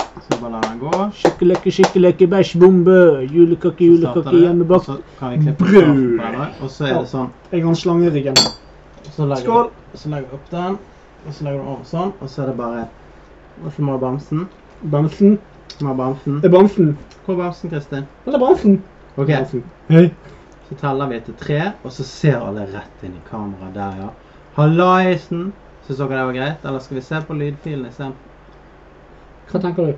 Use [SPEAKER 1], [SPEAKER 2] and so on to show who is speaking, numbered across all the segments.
[SPEAKER 1] Så bare lar den gå.
[SPEAKER 2] Skikkelekke, skikkelekke, bæsjbombe.
[SPEAKER 1] Starter
[SPEAKER 2] Julekakke, julekakke,
[SPEAKER 1] det, og
[SPEAKER 2] hjemmebakt.
[SPEAKER 1] så kan vi klippe
[SPEAKER 2] Brød.
[SPEAKER 1] starten på den, Og så er det sånn.
[SPEAKER 3] Jeg har en slange i ryggen.
[SPEAKER 1] Så legger,
[SPEAKER 3] Skål.
[SPEAKER 1] Du, så legger du opp den, og så legger du over sånn, og så er det bare Og så må du bamsen.
[SPEAKER 3] Bamsen.
[SPEAKER 1] Må du bamsen.
[SPEAKER 3] Det er Bamsen.
[SPEAKER 1] Hvor er bamsen, Kristin?
[SPEAKER 3] Det er Bamsen.
[SPEAKER 1] Ok,
[SPEAKER 3] Bamsen. Hei.
[SPEAKER 1] så teller vi til tre, og så ser alle rett inn i kameraet der, ja. Hallaisen. Syns dere det var greit, eller skal vi se på lydfilen istedenfor?
[SPEAKER 3] Hva tenker du?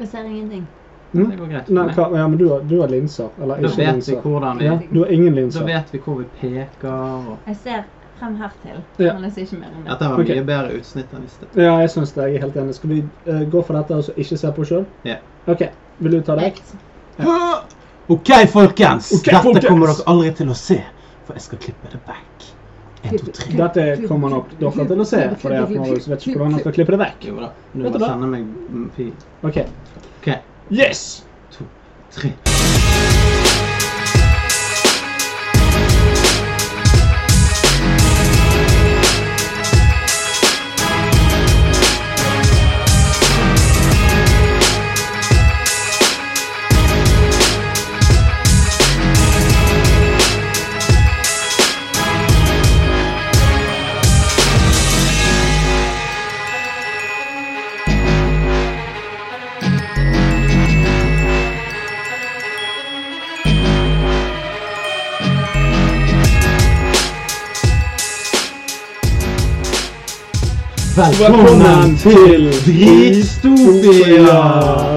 [SPEAKER 4] Jeg ser ingenting.
[SPEAKER 3] Mm?
[SPEAKER 1] Det går greit.
[SPEAKER 3] Nei,
[SPEAKER 1] for meg.
[SPEAKER 3] hva, ja, men du har, du har linser. Eller
[SPEAKER 1] Da
[SPEAKER 3] ikke
[SPEAKER 1] vet vi
[SPEAKER 3] linser.
[SPEAKER 1] hvordan vi
[SPEAKER 3] Ja, du har ingen linser.
[SPEAKER 1] Da vet vi hvor vi peker og
[SPEAKER 4] Jeg ser frem hertil,
[SPEAKER 3] Ja.
[SPEAKER 4] men jeg ser ikke mer enn det.
[SPEAKER 1] Dette var mye
[SPEAKER 3] Ok.
[SPEAKER 1] bedre utsnitt enn i sted.
[SPEAKER 3] Ja, jeg syns det. Jeg er helt enig. Skal vi eh, gå for dette og så ikke se på sjøl?
[SPEAKER 1] Ja.
[SPEAKER 3] OK. Vil du ta det?
[SPEAKER 4] Perfekt.
[SPEAKER 1] OK, folkens.
[SPEAKER 3] Ok, Dette folkens. kommer dere
[SPEAKER 1] aldri til å se, for jeg skal klippe det back.
[SPEAKER 4] En, to, tre.
[SPEAKER 3] Dette kommer nok dere til å se, for det at Marius vet ikke hvordan han skal klippe det vekk.
[SPEAKER 1] Jo da.
[SPEAKER 3] Vet
[SPEAKER 1] Nå bare
[SPEAKER 3] du hva?
[SPEAKER 1] sender meg mm, fil.
[SPEAKER 3] OK.
[SPEAKER 1] OK.
[SPEAKER 3] Yes!
[SPEAKER 1] Tre.
[SPEAKER 3] Velkommen til
[SPEAKER 1] Dritstopia!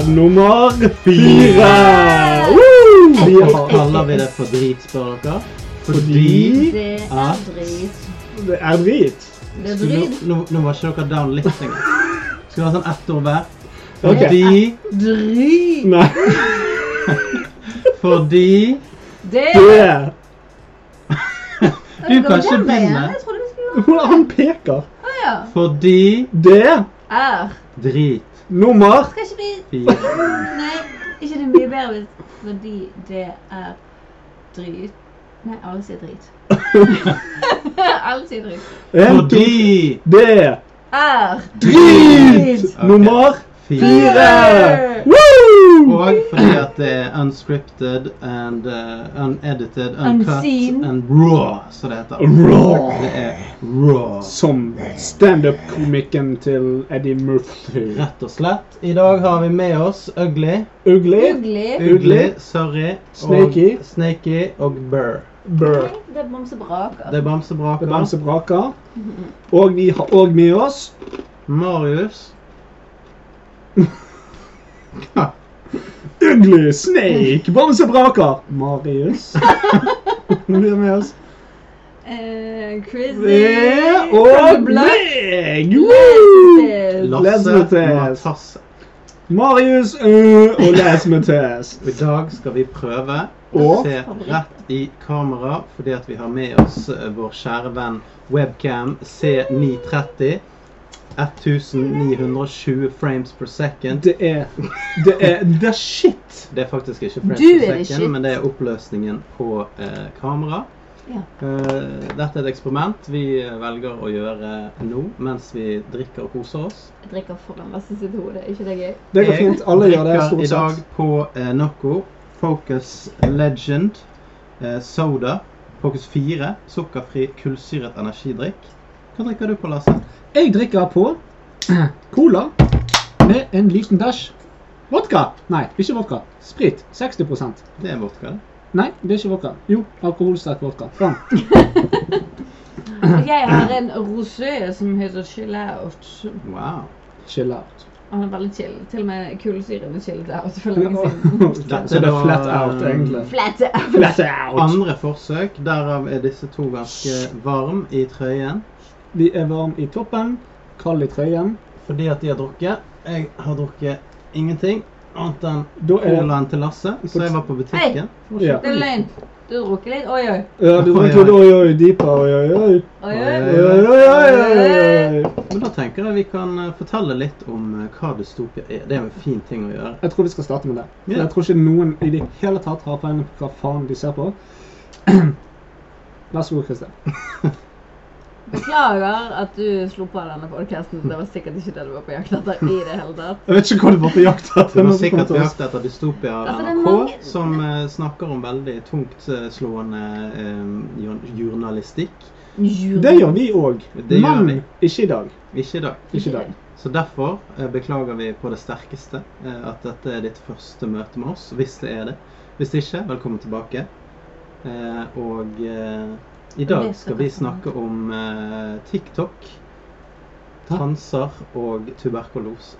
[SPEAKER 3] nummer fire! Woo! Vi
[SPEAKER 1] Hvorfor
[SPEAKER 3] har
[SPEAKER 1] kaller vi det for drit, spør dere?
[SPEAKER 3] Fordi-
[SPEAKER 4] Det
[SPEAKER 1] Ja.
[SPEAKER 4] er drit.
[SPEAKER 3] Det er drit.
[SPEAKER 4] Det er
[SPEAKER 1] Skulle-
[SPEAKER 4] drit.
[SPEAKER 1] Nå, nå var ikke dere down litt engang. Skulle ha sånn ett ord hver.
[SPEAKER 3] Ok.
[SPEAKER 1] Fordi
[SPEAKER 4] Drit.
[SPEAKER 3] Nei,
[SPEAKER 1] Fordi
[SPEAKER 4] Det
[SPEAKER 3] det
[SPEAKER 1] Du kan ikke begynne.
[SPEAKER 4] Jeg trodde vi skulle gjøre
[SPEAKER 3] Hvordan han peker.
[SPEAKER 4] Å ja.
[SPEAKER 1] Fordi
[SPEAKER 3] Det
[SPEAKER 4] Er.
[SPEAKER 1] drit.
[SPEAKER 3] nummer
[SPEAKER 4] Skal ikke vi
[SPEAKER 1] Fire.
[SPEAKER 4] Nei, ikke det mye bedre hvis fordi det er drit. Nei, alle sier drit. alle sier drit.
[SPEAKER 3] en, to,
[SPEAKER 1] Fordi
[SPEAKER 3] Det
[SPEAKER 4] Er
[SPEAKER 3] drit
[SPEAKER 4] drit.
[SPEAKER 3] nummer
[SPEAKER 1] fire.
[SPEAKER 3] fire!
[SPEAKER 4] Fire!
[SPEAKER 3] Woo!
[SPEAKER 1] Og fordi at det er unscripted and uh, unedited, uncut
[SPEAKER 4] Unseen.
[SPEAKER 1] and raw, så det heter.
[SPEAKER 3] Raw.
[SPEAKER 1] Det er raw.
[SPEAKER 3] Som standup-komikken til Eddie Murphy.
[SPEAKER 1] Rett og slett. I dag har vi med oss Ugly,
[SPEAKER 3] Ugly
[SPEAKER 4] Ugly.
[SPEAKER 1] Ugly, Surrey,
[SPEAKER 3] Snaky.
[SPEAKER 1] og, Snaky og Burr.
[SPEAKER 3] Burr.
[SPEAKER 4] Det er bamsebraker.
[SPEAKER 1] Det er
[SPEAKER 3] Det
[SPEAKER 1] Bamsebraker.
[SPEAKER 3] er Bamse Braker. Og vi har òg med oss
[SPEAKER 1] Marius.
[SPEAKER 3] Ugly Snake Bamse Braker. Marius. Hun blir med oss.
[SPEAKER 4] Eh, Chrissy.
[SPEAKER 3] Ved
[SPEAKER 4] From
[SPEAKER 3] og
[SPEAKER 4] the Black
[SPEAKER 3] meg! Woo!
[SPEAKER 4] Sisters.
[SPEAKER 1] Lasse
[SPEAKER 3] Lesbetes.
[SPEAKER 1] Matasse.
[SPEAKER 3] Marius øh, og Les med test.
[SPEAKER 1] I dag skal vi prøve å
[SPEAKER 3] Og?
[SPEAKER 1] se rett i kamera, fordi at vi har med oss eh, vår kjære venn webcam C930. 1920 frames per second.
[SPEAKER 3] Det er Det er the shit.
[SPEAKER 1] Det er faktisk ikke frames
[SPEAKER 4] Du er
[SPEAKER 1] per
[SPEAKER 4] det
[SPEAKER 1] second,
[SPEAKER 4] shit.
[SPEAKER 1] men det er oppløsningen på eh, kamera.
[SPEAKER 4] Ja.
[SPEAKER 1] Eh, dette er et eksperiment vi eh, velger å gjøre eh, nå mens vi drikker og koser oss.
[SPEAKER 4] Jeg drikker foran Lasse sitt hode. Er ikke det gøy?
[SPEAKER 3] Det går fint. Alle gjør det stort
[SPEAKER 1] Jeg drikker i dag
[SPEAKER 3] sett.
[SPEAKER 1] på eh, Nocco Focus Legend eh, Soda. Focus 4. Sukkerfri kullsyret energidrikk. Hva drikker du på, Lasse?
[SPEAKER 3] Jeg drikker på cola med en liten dash vodka. Nei, ikke vodka. Sprit. 60
[SPEAKER 1] Det er vodka. det.
[SPEAKER 3] Nei, det er ikke vodka. Jo, alkoholsterk vodka. Fram.
[SPEAKER 4] Jeg har en rosé som heter Chill Out.
[SPEAKER 1] Wow.
[SPEAKER 3] Chill out.
[SPEAKER 4] Han er veldig chill. Til og med kullsyren er chillet out for lenge siden.
[SPEAKER 3] Okay, så det er flat out, egentlig.
[SPEAKER 4] Flat out.
[SPEAKER 3] Flat out.
[SPEAKER 1] Andre forsøk. Derav er disse to ganske varm i trøyen.
[SPEAKER 3] Vi er varm i toppen, kald i trøyen.
[SPEAKER 1] Fordi at de har drukket. Jeg har drukket ingenting annet enn
[SPEAKER 3] Da er det
[SPEAKER 1] colaen til Lasse. Så jeg var på butikken.
[SPEAKER 3] Ja.
[SPEAKER 4] Det er løgn. Du drukker litt. Oi, oi.
[SPEAKER 3] Ja, du drikker litt oi, oi, dypa, oi, oi, oi.
[SPEAKER 4] Oi,
[SPEAKER 3] Oi,
[SPEAKER 4] oi.
[SPEAKER 3] oi, oi, oi, oi.
[SPEAKER 1] Men da tenker jeg vi kan eh, fortelle litt om eh, hva dystopia er. Det er jo en fin ting å gjøre.
[SPEAKER 3] Jeg tror vi skal starte med det. For
[SPEAKER 1] Ja.
[SPEAKER 3] Jeg tror ikke noen i det hele tatt har peiling på hva faen de ser på. Vær så god, Kristin.
[SPEAKER 4] Beklager at du slo på denne podkasten. Det var sikkert ikke det du var på jakt etter i det hele tatt.
[SPEAKER 3] Jeg vet ikke hva du var på jakt
[SPEAKER 1] Det
[SPEAKER 3] etter. altså.
[SPEAKER 1] var
[SPEAKER 3] når kom
[SPEAKER 1] sikkert
[SPEAKER 3] til
[SPEAKER 1] vi
[SPEAKER 3] oss.
[SPEAKER 1] hørte etter Dystopia av
[SPEAKER 4] Altså, det er
[SPEAKER 1] NRK,
[SPEAKER 4] mange-
[SPEAKER 1] som eh, snakker om veldig tungtslående eh, jor- journalistikk.
[SPEAKER 3] Det gjør vi òg.
[SPEAKER 1] Det gjør
[SPEAKER 3] Men
[SPEAKER 1] vi.
[SPEAKER 3] ikke i dag.
[SPEAKER 1] Ikke i dag.
[SPEAKER 3] Ikke i dag.
[SPEAKER 1] Så derfor eh, beklager vi på det sterkeste eh, at dette er ditt første møte med oss, hvis det er det. Hvis ikke, velkommen tilbake. Eh, og eh, i dag
[SPEAKER 4] Det skal
[SPEAKER 1] skal vi
[SPEAKER 4] være sant.
[SPEAKER 1] snakke om eh, TikTok, transer og tuberkulose.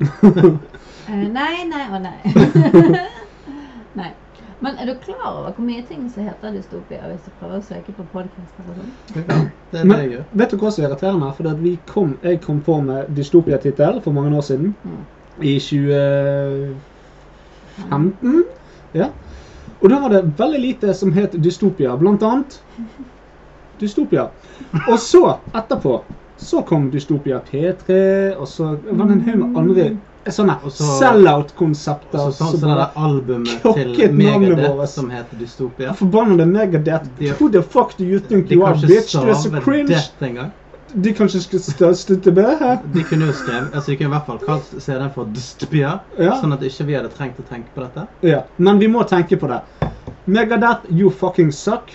[SPEAKER 4] Eh, nei, nei og nei. nei. Men er du klar over hvor mye ting som heter dystopia hvis du prøver å søke på podkaster og sånn?
[SPEAKER 1] Ja, det er det
[SPEAKER 3] Men
[SPEAKER 1] jeg gjør.
[SPEAKER 3] vet du hva som er irriterende? For det at vi kom, jeg kom på med dystopiatittel for mange år siden.
[SPEAKER 4] Mm.
[SPEAKER 3] I 2015. Ja. Og da var det veldig lite som het dystopia. Blant annet dystopia. Og så, etterpå, så kom dystopia P3, og så var det en haug med andre sånne
[SPEAKER 1] Og så-
[SPEAKER 3] sell-out-konsepter.
[SPEAKER 1] Så sånn
[SPEAKER 3] som
[SPEAKER 1] som det
[SPEAKER 3] bare-
[SPEAKER 1] der albumet
[SPEAKER 3] Klokket
[SPEAKER 1] til
[SPEAKER 3] navnet
[SPEAKER 1] Megadeth
[SPEAKER 3] vårt.
[SPEAKER 1] som heter Dystopia.
[SPEAKER 3] Forbannede megadeth.
[SPEAKER 1] De-
[SPEAKER 3] Who the fuck do you think
[SPEAKER 1] De
[SPEAKER 3] you are,
[SPEAKER 1] kan ikke
[SPEAKER 3] bitch? Du er så
[SPEAKER 1] stave
[SPEAKER 3] cringe.
[SPEAKER 1] det engang.
[SPEAKER 3] De kan ikke sk- st- slutte med det her.
[SPEAKER 1] De kunne jo skrevet Altså, de kunne i hvert fall kalt CD-en for Dystopia,
[SPEAKER 3] Ja.
[SPEAKER 1] sånn at ikke vi hadde trengt å tenke på dette.
[SPEAKER 3] Ja. Men vi må tenke på det. Megadeth, you fucking suck.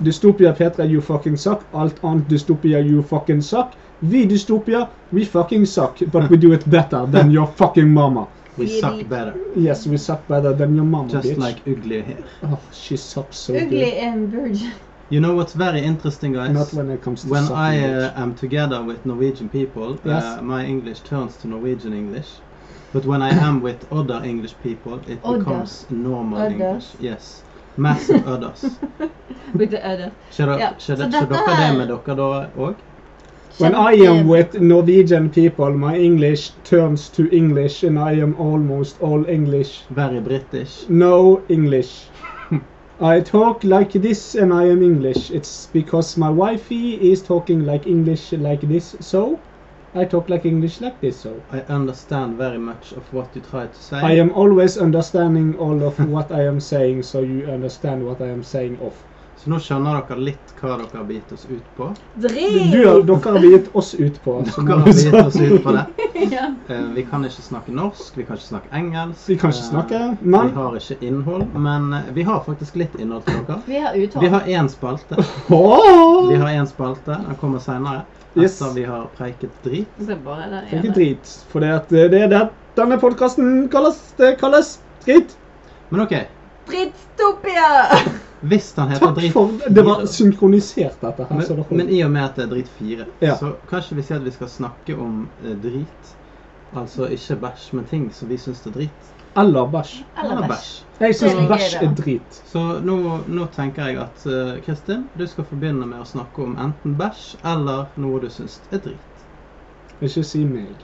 [SPEAKER 3] Dystopia Petra, you fucking suck. Alt annet dystopia, you fucking suck. Vi dystopia, we fucking suck, but we do it better than your fucking mama.
[SPEAKER 1] We
[SPEAKER 4] Fordi-
[SPEAKER 1] suck better.
[SPEAKER 3] Yes, we suck better than your mama,
[SPEAKER 1] Just
[SPEAKER 3] bitch.
[SPEAKER 1] like ugly hair.
[SPEAKER 3] oh, she sucks so
[SPEAKER 4] Ugly
[SPEAKER 3] good.
[SPEAKER 4] and virgin.
[SPEAKER 1] You know what's very interesting,
[SPEAKER 3] Not
[SPEAKER 1] guys?
[SPEAKER 3] when it comes to
[SPEAKER 1] When
[SPEAKER 3] sucking
[SPEAKER 1] I
[SPEAKER 3] bitch.
[SPEAKER 1] uh, am together with Norwegian people, uh,
[SPEAKER 3] Yes.
[SPEAKER 1] my English turns to Norwegian English. But when I am with other English people, it
[SPEAKER 4] Other.
[SPEAKER 1] becomes normal
[SPEAKER 4] Others.
[SPEAKER 1] English. Yes. Massive others.
[SPEAKER 4] With the other.
[SPEAKER 1] Skjer dere
[SPEAKER 4] Ja,
[SPEAKER 1] skjer
[SPEAKER 4] så
[SPEAKER 1] dere-
[SPEAKER 4] dette
[SPEAKER 1] skjer dere det
[SPEAKER 4] her-
[SPEAKER 1] med dere da òg?
[SPEAKER 3] When I am with Norwegian people, my English turns to English and I am almost all English.
[SPEAKER 1] Very British.
[SPEAKER 3] No English. I talk like this and I am English. It's because my wifey is talking like English like this, so I talk like English like this, so.
[SPEAKER 1] I understand very much of what you try to say.
[SPEAKER 3] I am always understanding all of what I am saying, so you understand what I am saying of.
[SPEAKER 1] Så nå skjønner dere litt hva dere har bitt oss ut på.
[SPEAKER 4] Drit!
[SPEAKER 3] Du, har- dere har gitt oss ut på. som
[SPEAKER 1] Dere har
[SPEAKER 3] han sa.
[SPEAKER 1] bitt oss ut på det.
[SPEAKER 4] ja.
[SPEAKER 1] Eh, Vi kan ikke snakke norsk, vi kan ikke snakke engelsk.
[SPEAKER 3] Vi kan ikke
[SPEAKER 1] eh,
[SPEAKER 3] snakke, men-
[SPEAKER 1] Vi har ikke innhold, men eh, vi har faktisk litt innhold til dere.
[SPEAKER 4] Vi har
[SPEAKER 1] Vi
[SPEAKER 4] uttalt.
[SPEAKER 1] har én spalte.
[SPEAKER 3] Åh!
[SPEAKER 1] Vi har én spalte, Den kommer seinere.
[SPEAKER 3] Yes.
[SPEAKER 1] Etter vi har preiket drit.
[SPEAKER 4] Det er bare den
[SPEAKER 3] Det er
[SPEAKER 4] ene.
[SPEAKER 3] ikke drit, for det at det er det denne podkasten kalles. Det kalles drit.
[SPEAKER 1] Men OK.
[SPEAKER 4] Drittopia!
[SPEAKER 1] Hvis den heter
[SPEAKER 3] Takk
[SPEAKER 1] Drit
[SPEAKER 3] for Det var
[SPEAKER 1] fire-
[SPEAKER 3] synkronisert, dette her. så
[SPEAKER 1] men,
[SPEAKER 3] det holder.
[SPEAKER 1] men i og med at det er Drit 4,
[SPEAKER 3] Ja.
[SPEAKER 1] så kanskje vi sier at vi skal snakke om eh, drit. Altså ikke bæsj, men ting som vi syns er drit.
[SPEAKER 3] Eller bæsj.
[SPEAKER 4] Eller bæsj.
[SPEAKER 3] Jeg syns
[SPEAKER 4] Det er
[SPEAKER 3] bæsj
[SPEAKER 4] gøy,
[SPEAKER 3] er
[SPEAKER 4] da.
[SPEAKER 3] drit.
[SPEAKER 1] Så nå, nå tenker jeg at eh, Kristin, du skal forbegynne med å snakke om enten bæsj eller noe du syns er drit.
[SPEAKER 3] Ikke si meg.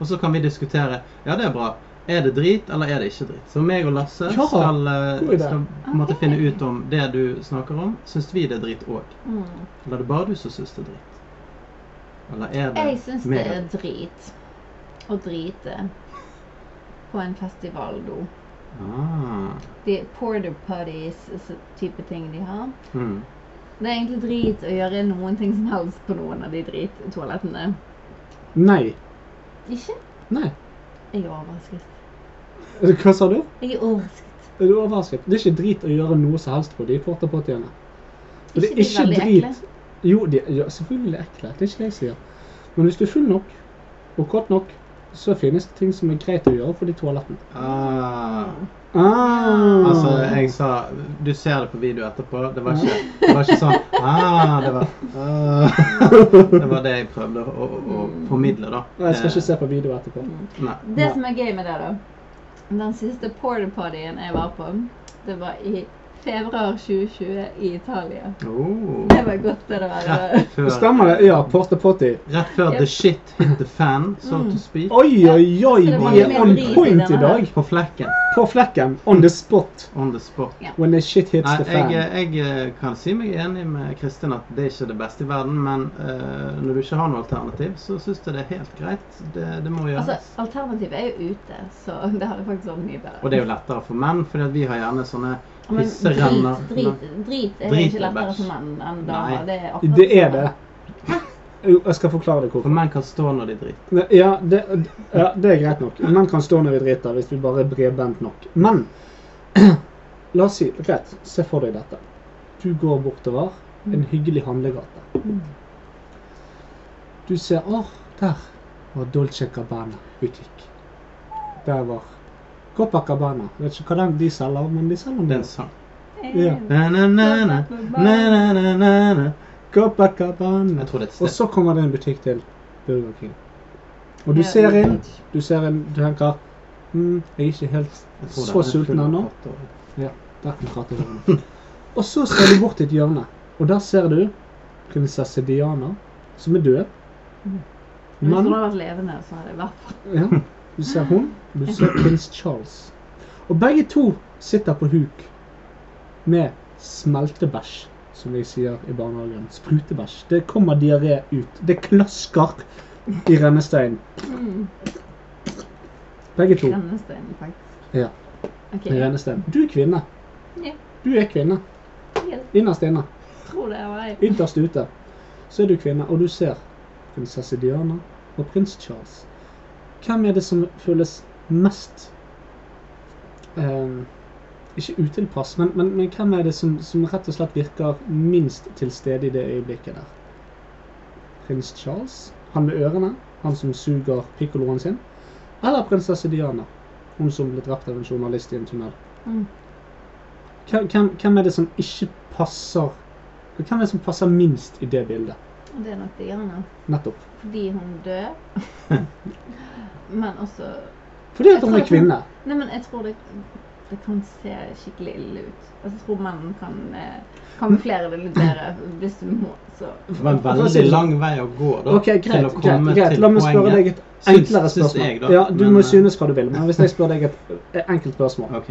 [SPEAKER 1] Og så kan vi diskutere Ja, det er bra. Er det drit, eller er det ikke drit? Så meg og Lasse
[SPEAKER 3] Ja,
[SPEAKER 1] skal, eh,
[SPEAKER 3] god idé.
[SPEAKER 1] skal på en måte
[SPEAKER 4] Ok.
[SPEAKER 1] finne ut om det du snakker om. Syns vi det er drit òg?
[SPEAKER 4] Mm.
[SPEAKER 1] Eller er det bare du som syns det er drit? Eller er det
[SPEAKER 4] Jeg syns det
[SPEAKER 1] meg?
[SPEAKER 4] er drit å drite på en festivaldo.
[SPEAKER 1] Ah.
[SPEAKER 4] De porter putties så type ting de har.
[SPEAKER 1] Mm.
[SPEAKER 4] Det er egentlig drit å gjøre noen ting som helst på noen av de drittoalettene.
[SPEAKER 3] Nei.
[SPEAKER 4] Ikke?
[SPEAKER 3] Nei.
[SPEAKER 4] Jeg er overrasket.
[SPEAKER 3] Hva sa du?
[SPEAKER 4] Jeg er overrasket.
[SPEAKER 3] Er du overrasket? Det er ikke drit å gjøre noe som helst på de portapottiene. Og det er
[SPEAKER 4] de
[SPEAKER 3] ikke
[SPEAKER 4] veldig
[SPEAKER 3] drit.
[SPEAKER 4] ekle?
[SPEAKER 3] Jo, de ja, selvfølgelig er ekle. Det er ikke det jeg sier. Men hvis du er full nok og kåt nok, så finnes det ting som er greit å gjøre på de toalettene.
[SPEAKER 1] Ah.
[SPEAKER 3] Ah.
[SPEAKER 1] Altså, jeg sa Du ser det på video etterpå. Det var ikke, det var ikke sånn ah, det, var, ah. det var det jeg prøvde å, å, å formidle, da. Eh,
[SPEAKER 3] Jeg skal ikke se på video etterpå.
[SPEAKER 1] Nei.
[SPEAKER 4] Det som er gøy med det, da Den siste porter pottyen jeg var på, det var i februar 2020 i Italia.
[SPEAKER 1] Oh.
[SPEAKER 4] Det var godt det var.
[SPEAKER 1] Rett før,
[SPEAKER 3] Stemmer det? Ja, portapotti.
[SPEAKER 1] Rett før the shit hit the fan, so to speak.
[SPEAKER 3] Oi, oi, oi,
[SPEAKER 4] Så det var
[SPEAKER 3] vi
[SPEAKER 4] litt
[SPEAKER 3] er on
[SPEAKER 4] mer drit i
[SPEAKER 3] point i
[SPEAKER 4] denne her.
[SPEAKER 3] dag.
[SPEAKER 1] På flekken.
[SPEAKER 3] På flekken. On the spot.
[SPEAKER 1] On the spot.
[SPEAKER 3] When the shit hits
[SPEAKER 1] Nei,
[SPEAKER 3] the fan.
[SPEAKER 1] jeg, eh, jeg kan si meg enig med Kristin at det er ikke det beste i verden, men eh, når du ikke har noe alternativ, så syns jeg det er helt greit. Det, det må gjøres.
[SPEAKER 4] Altså, alternativet er jo ute, så det hadde faktisk vært mye bedre.
[SPEAKER 1] Og det er jo lettere for menn, fordi at vi har gjerne sånne
[SPEAKER 4] Men
[SPEAKER 1] pisserenner.
[SPEAKER 4] Drit, drit, drit er
[SPEAKER 1] Drit
[SPEAKER 4] ikke
[SPEAKER 1] er
[SPEAKER 4] lettere
[SPEAKER 1] bæsj.
[SPEAKER 4] for menn enn
[SPEAKER 1] Nei.
[SPEAKER 4] damer. Det er akkurat
[SPEAKER 3] Det er
[SPEAKER 4] som-
[SPEAKER 3] det. Jo, jeg skal forklare deg
[SPEAKER 1] For
[SPEAKER 3] hvorfor.
[SPEAKER 1] menn kan stå når de driter.
[SPEAKER 3] Ne- Ja det, ja, det er greit nok. Menn kan stå når vi driter, hvis vi bare er bredbent nok. Men la oss si Greit, se for deg dette. Du går bortover en hyggelig handlegate.
[SPEAKER 4] Mm.
[SPEAKER 3] Du ser Å, der var Dolce Gabbana butikk. Der var Copacabana. Vet ikke hva den de selger, men de selger
[SPEAKER 1] Det er
[SPEAKER 3] den.
[SPEAKER 1] en sang.
[SPEAKER 3] Ja.
[SPEAKER 1] Na, na, na, na. Na, na, na, na, na.
[SPEAKER 3] Copacabana.
[SPEAKER 1] Jeg tror det er et sted.
[SPEAKER 3] Og så kommer det en butikk til Burger King. Og du ser inn, du ser inn, du tenker hm, Jeg er ikke helt
[SPEAKER 1] Jeg tror det er
[SPEAKER 3] så
[SPEAKER 1] en
[SPEAKER 3] sulten
[SPEAKER 1] full
[SPEAKER 3] ennå.
[SPEAKER 1] katt og-
[SPEAKER 3] Der kan prate dørene. Og så ser du bort til et hjørne, og der ser du prinsesse Diana, som er død.
[SPEAKER 4] Hvis hun
[SPEAKER 3] Men
[SPEAKER 4] hadde vært levende, så hadde jeg vært
[SPEAKER 3] ja, du ser hun, du ser prins Charles. Og begge to sitter på huk med smeltebæsj, som vi sier i barnehagen. Sprutebæsj. Det kommer diaré ut. Det klasker i rennesteinen.
[SPEAKER 4] mm.
[SPEAKER 3] Begge to.
[SPEAKER 4] Rennestein, faktisk.
[SPEAKER 3] Ja.
[SPEAKER 4] Ok,
[SPEAKER 3] I rennesteinen. Du er kvinne.
[SPEAKER 4] Ja.
[SPEAKER 3] Du er kvinne.
[SPEAKER 4] jeg
[SPEAKER 3] Innerst inne.
[SPEAKER 4] tror det var deg.
[SPEAKER 3] Ytterst ute. Så er du kvinne, og du ser prinsesse Diana og prins Charles. Hvem er det som føles mest eh, Ikke utilpass, men, men, men hvem er det som, som rett og slett virker minst til stede i det øyeblikket der? Prins Charles, han med ørene, han som suger pikkoloen sin? Eller prinsesse Diana, hun som ble drept av en journalist i en tunnel?
[SPEAKER 4] Mm.
[SPEAKER 3] Hvem, hvem, hvem er det som ikke passer Hvem er det som passer minst i det bildet?
[SPEAKER 4] Og det er nok Diana.
[SPEAKER 3] Nettopp.
[SPEAKER 4] Fordi hun dør. men også
[SPEAKER 3] Fordi at hun er kvinne.
[SPEAKER 4] Nei, men jeg tror det, det kan se skikkelig ille ut. Altså, jeg tror menn kan eh, kamuflere det litt bedre hvis du må, så
[SPEAKER 1] Det var en veldig lang vei å gå da,
[SPEAKER 3] Ok,
[SPEAKER 1] til
[SPEAKER 3] greit,
[SPEAKER 1] å
[SPEAKER 3] greit,
[SPEAKER 1] komme
[SPEAKER 3] greit.
[SPEAKER 1] til
[SPEAKER 3] La meg spørre
[SPEAKER 1] poenget.
[SPEAKER 3] deg et
[SPEAKER 1] Syns-
[SPEAKER 3] enklere
[SPEAKER 1] syns
[SPEAKER 3] spørsmål.
[SPEAKER 1] jeg da,
[SPEAKER 3] ja, du
[SPEAKER 1] men,
[SPEAKER 3] må
[SPEAKER 1] eh,
[SPEAKER 3] synes hva du vil, men hvis jeg spør deg et et enkelt spørsmål
[SPEAKER 1] Ok,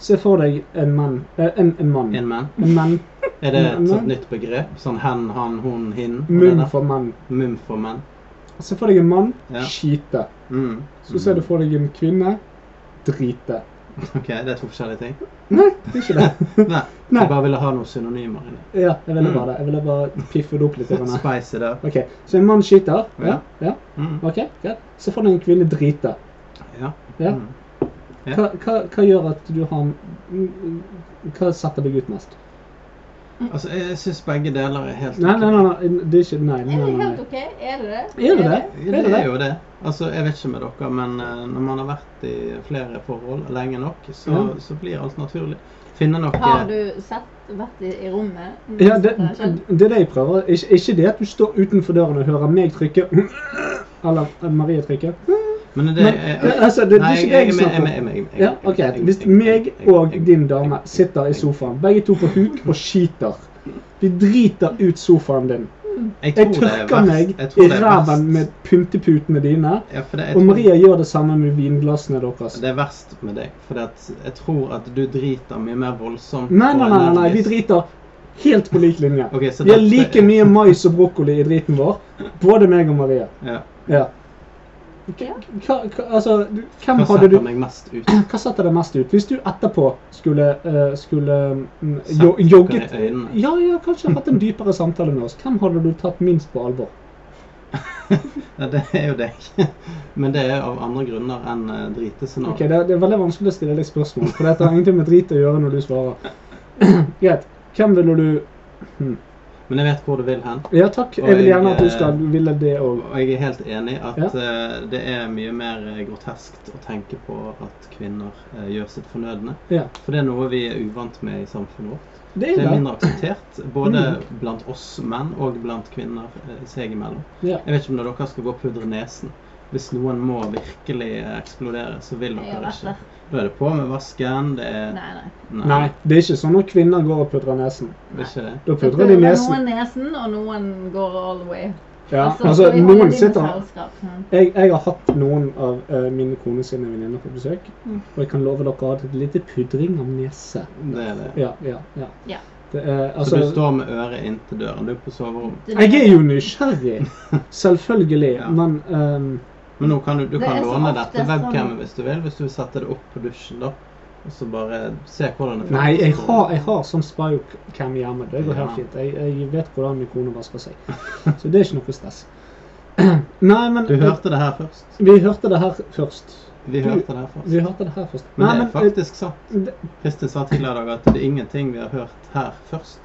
[SPEAKER 3] Se for deg en mann eh, En, en mann.
[SPEAKER 1] En mann.
[SPEAKER 3] En mann.
[SPEAKER 1] Er det et
[SPEAKER 3] Men-
[SPEAKER 1] sånt nytt begrep? Sånn hen, han, hun, hin? og det
[SPEAKER 3] Munn
[SPEAKER 1] der?
[SPEAKER 3] for mann.
[SPEAKER 1] Munn for menn.
[SPEAKER 3] Se for deg en mann.
[SPEAKER 1] Ja.
[SPEAKER 3] Skite.
[SPEAKER 1] Mm.
[SPEAKER 3] Så ser du for deg en kvinne. Drite.
[SPEAKER 1] Ok, det er to forskjellige ting.
[SPEAKER 3] Nei, det er ikke det.
[SPEAKER 1] Nei,
[SPEAKER 3] Nei.
[SPEAKER 1] jeg bare ville ha noen synonymer inni.
[SPEAKER 3] Ja, jeg ville
[SPEAKER 1] Mm.
[SPEAKER 3] bare, jeg ville bare piffe det opp litt. grann.
[SPEAKER 1] Spice it up.
[SPEAKER 3] Ok, Så en mann skiter. Ja, ja.
[SPEAKER 1] Mm.
[SPEAKER 3] Ok, greit. Så får du en kvinne drite.
[SPEAKER 1] Ja.
[SPEAKER 3] Ja.
[SPEAKER 1] Mm. Ja.
[SPEAKER 3] Hva, hva, hva gjør at du har mm, Hva setter deg ut mest?
[SPEAKER 1] Altså, jeg, jeg syns begge deler er helt
[SPEAKER 3] Nei,
[SPEAKER 1] ok.
[SPEAKER 3] nei, nei, nei, det er ikke Nei, nei,
[SPEAKER 4] Er det
[SPEAKER 3] nei.
[SPEAKER 4] helt OK? Er det det?
[SPEAKER 3] nei. Er det det?
[SPEAKER 1] Ja, Det er jo det. Altså, Jeg vet ikke med dere, men eh, når man har vært i flere forhold lenge nok, så,
[SPEAKER 3] Ja.
[SPEAKER 1] så blir alt naturlig. Finne noe
[SPEAKER 4] Har du sett, vært i, i rommet?
[SPEAKER 3] Ja, det, det er det jeg prøver. Ikke, ikke det at du står utenfor døren og hører meg trykke Eller eh, Marie trykke.
[SPEAKER 1] Men det,
[SPEAKER 3] Men,
[SPEAKER 1] jeg-
[SPEAKER 3] ja, altså, det, det
[SPEAKER 1] Nei,
[SPEAKER 3] er ikke
[SPEAKER 1] jeg-
[SPEAKER 3] det
[SPEAKER 1] jeg-
[SPEAKER 3] jeg
[SPEAKER 1] jeg-
[SPEAKER 3] snakker om.
[SPEAKER 1] jeg- jeg- jeg-
[SPEAKER 3] Ja, ok.
[SPEAKER 1] jeg- jeg-
[SPEAKER 3] Hvis
[SPEAKER 1] jeg-
[SPEAKER 3] meg
[SPEAKER 1] jeg-
[SPEAKER 3] og
[SPEAKER 1] jeg-
[SPEAKER 3] din dame sitter i sofaen, begge to på huk og skiter Vi driter ut sofaen din.
[SPEAKER 1] Jeg
[SPEAKER 3] Jeg
[SPEAKER 1] tror det er
[SPEAKER 3] tørker meg
[SPEAKER 1] verst. Jeg tror
[SPEAKER 3] i
[SPEAKER 1] det er
[SPEAKER 3] ræven
[SPEAKER 1] verst.
[SPEAKER 3] med pynteputene dine.
[SPEAKER 1] Ja, for det, jeg
[SPEAKER 3] Og
[SPEAKER 1] tror-
[SPEAKER 3] Maria gjør det samme med vinglassene deres.
[SPEAKER 1] Det er verst med deg, for jeg tror at du driter mye mer voldsomt.
[SPEAKER 3] Nei,
[SPEAKER 1] og
[SPEAKER 3] nei, nei, nei, nei. vi
[SPEAKER 1] energisk.
[SPEAKER 3] driter helt på lik linje.
[SPEAKER 1] Ok, så
[SPEAKER 3] Vi har
[SPEAKER 1] dette
[SPEAKER 3] like
[SPEAKER 1] er-
[SPEAKER 3] mye mais og brokkoli i driten vår, både meg og Maria.
[SPEAKER 1] Ja.
[SPEAKER 3] Ja.
[SPEAKER 4] Ja.
[SPEAKER 3] Hva, hva, altså, du- hvem
[SPEAKER 1] Hva
[SPEAKER 3] hadde du
[SPEAKER 1] setter meg mest ut?
[SPEAKER 3] Hva satte deg mest ut? Hvis du etterpå skulle, eh, skulle mm,
[SPEAKER 1] Sett
[SPEAKER 3] jo,
[SPEAKER 1] dere
[SPEAKER 3] jogget
[SPEAKER 1] i øynene.
[SPEAKER 3] Ja, ja, kanskje hatt en dypere samtale med oss. Hvem hadde du tatt minst på alvor?
[SPEAKER 1] Ja, det er jo deg. Men det er av andre grunner enn eh, dritescenario.
[SPEAKER 3] Ok, det, er- det er veldig vanskelig å stille deg spørsmål, for dette har ingenting med drit å gjøre når du svarer. Greit. Hvem ville du
[SPEAKER 1] Men jeg vet hvor du vil hen.
[SPEAKER 3] Ja takk, jeg vil gjerne
[SPEAKER 1] eh,
[SPEAKER 3] at du skal ville det òg.
[SPEAKER 1] Og jeg er helt enig at
[SPEAKER 3] Ja.
[SPEAKER 1] eh, det er mye mer eh, groteskt å tenke på at kvinner eh, gjør sitt fornødne.
[SPEAKER 3] Ja.
[SPEAKER 1] For det er noe vi er uvant med i samfunnet vårt.
[SPEAKER 3] Det
[SPEAKER 1] Det
[SPEAKER 3] er
[SPEAKER 1] er
[SPEAKER 3] det.
[SPEAKER 1] mindre akseptert både
[SPEAKER 3] Mm.
[SPEAKER 1] blant oss menn og blant kvinner eh, seg imellom.
[SPEAKER 3] Ja.
[SPEAKER 1] Jeg vet ikke om dere skal gå og pudre nesen. Hvis noen må virkelig eh, eksplodere, så vil
[SPEAKER 4] Jeg har
[SPEAKER 1] dere
[SPEAKER 4] vært
[SPEAKER 1] ikke.
[SPEAKER 4] der.
[SPEAKER 1] Da er det på med vasken, det er
[SPEAKER 4] Nei, nei.
[SPEAKER 3] Nei, det er ikke sånn når kvinner går og pudrer nesen.
[SPEAKER 1] det er ikke det.
[SPEAKER 3] Da
[SPEAKER 4] Så
[SPEAKER 3] pudrer de nesen.
[SPEAKER 4] Noen nesen, og noen går all the way.
[SPEAKER 3] Ja,
[SPEAKER 4] Altså,
[SPEAKER 3] altså,
[SPEAKER 4] så vi holder
[SPEAKER 3] noen
[SPEAKER 4] de med
[SPEAKER 3] sitter
[SPEAKER 4] selskap, sant?
[SPEAKER 3] jeg, jeg har hatt noen av eh, mine kone sine venninner på besøk,
[SPEAKER 4] Mm.
[SPEAKER 3] og jeg kan love dere at et lite pudring av nese.
[SPEAKER 1] Det er det.
[SPEAKER 3] Ja, ja, ja.
[SPEAKER 4] Ja.
[SPEAKER 3] Det er,
[SPEAKER 1] Så
[SPEAKER 3] altså,
[SPEAKER 1] du står med øret inntil døren. Du er på soverommet.
[SPEAKER 4] Det-
[SPEAKER 3] jeg er jo nysgjerrig, selvfølgelig,
[SPEAKER 1] Ja.
[SPEAKER 3] men ehm,
[SPEAKER 1] Men nå kan du, du
[SPEAKER 4] Det
[SPEAKER 1] kan
[SPEAKER 4] er så
[SPEAKER 1] låne
[SPEAKER 4] ofte
[SPEAKER 1] dette
[SPEAKER 4] sånn-
[SPEAKER 1] webcamet hvis du vil, hvis du vil sette det opp på dusjen, da. Og så bare se hvordan det
[SPEAKER 3] Nei, jeg har, jeg har sånn spycam hjemme. Det går
[SPEAKER 1] Ja.
[SPEAKER 3] helt fint. Jeg, jeg vet hvordan min kone vasker seg. Så det er ikke noe stress. Nei, men
[SPEAKER 1] Du hørte det her først.
[SPEAKER 3] Vi hørte det her først.
[SPEAKER 1] Vi
[SPEAKER 3] Du-
[SPEAKER 1] hørte det her først.
[SPEAKER 3] Vi hørte det her først.
[SPEAKER 1] Men
[SPEAKER 3] Nei,
[SPEAKER 1] det er faktisk sant.
[SPEAKER 3] det-
[SPEAKER 1] Kristin sa tidligere i dag at det er ingenting vi har hørt her først.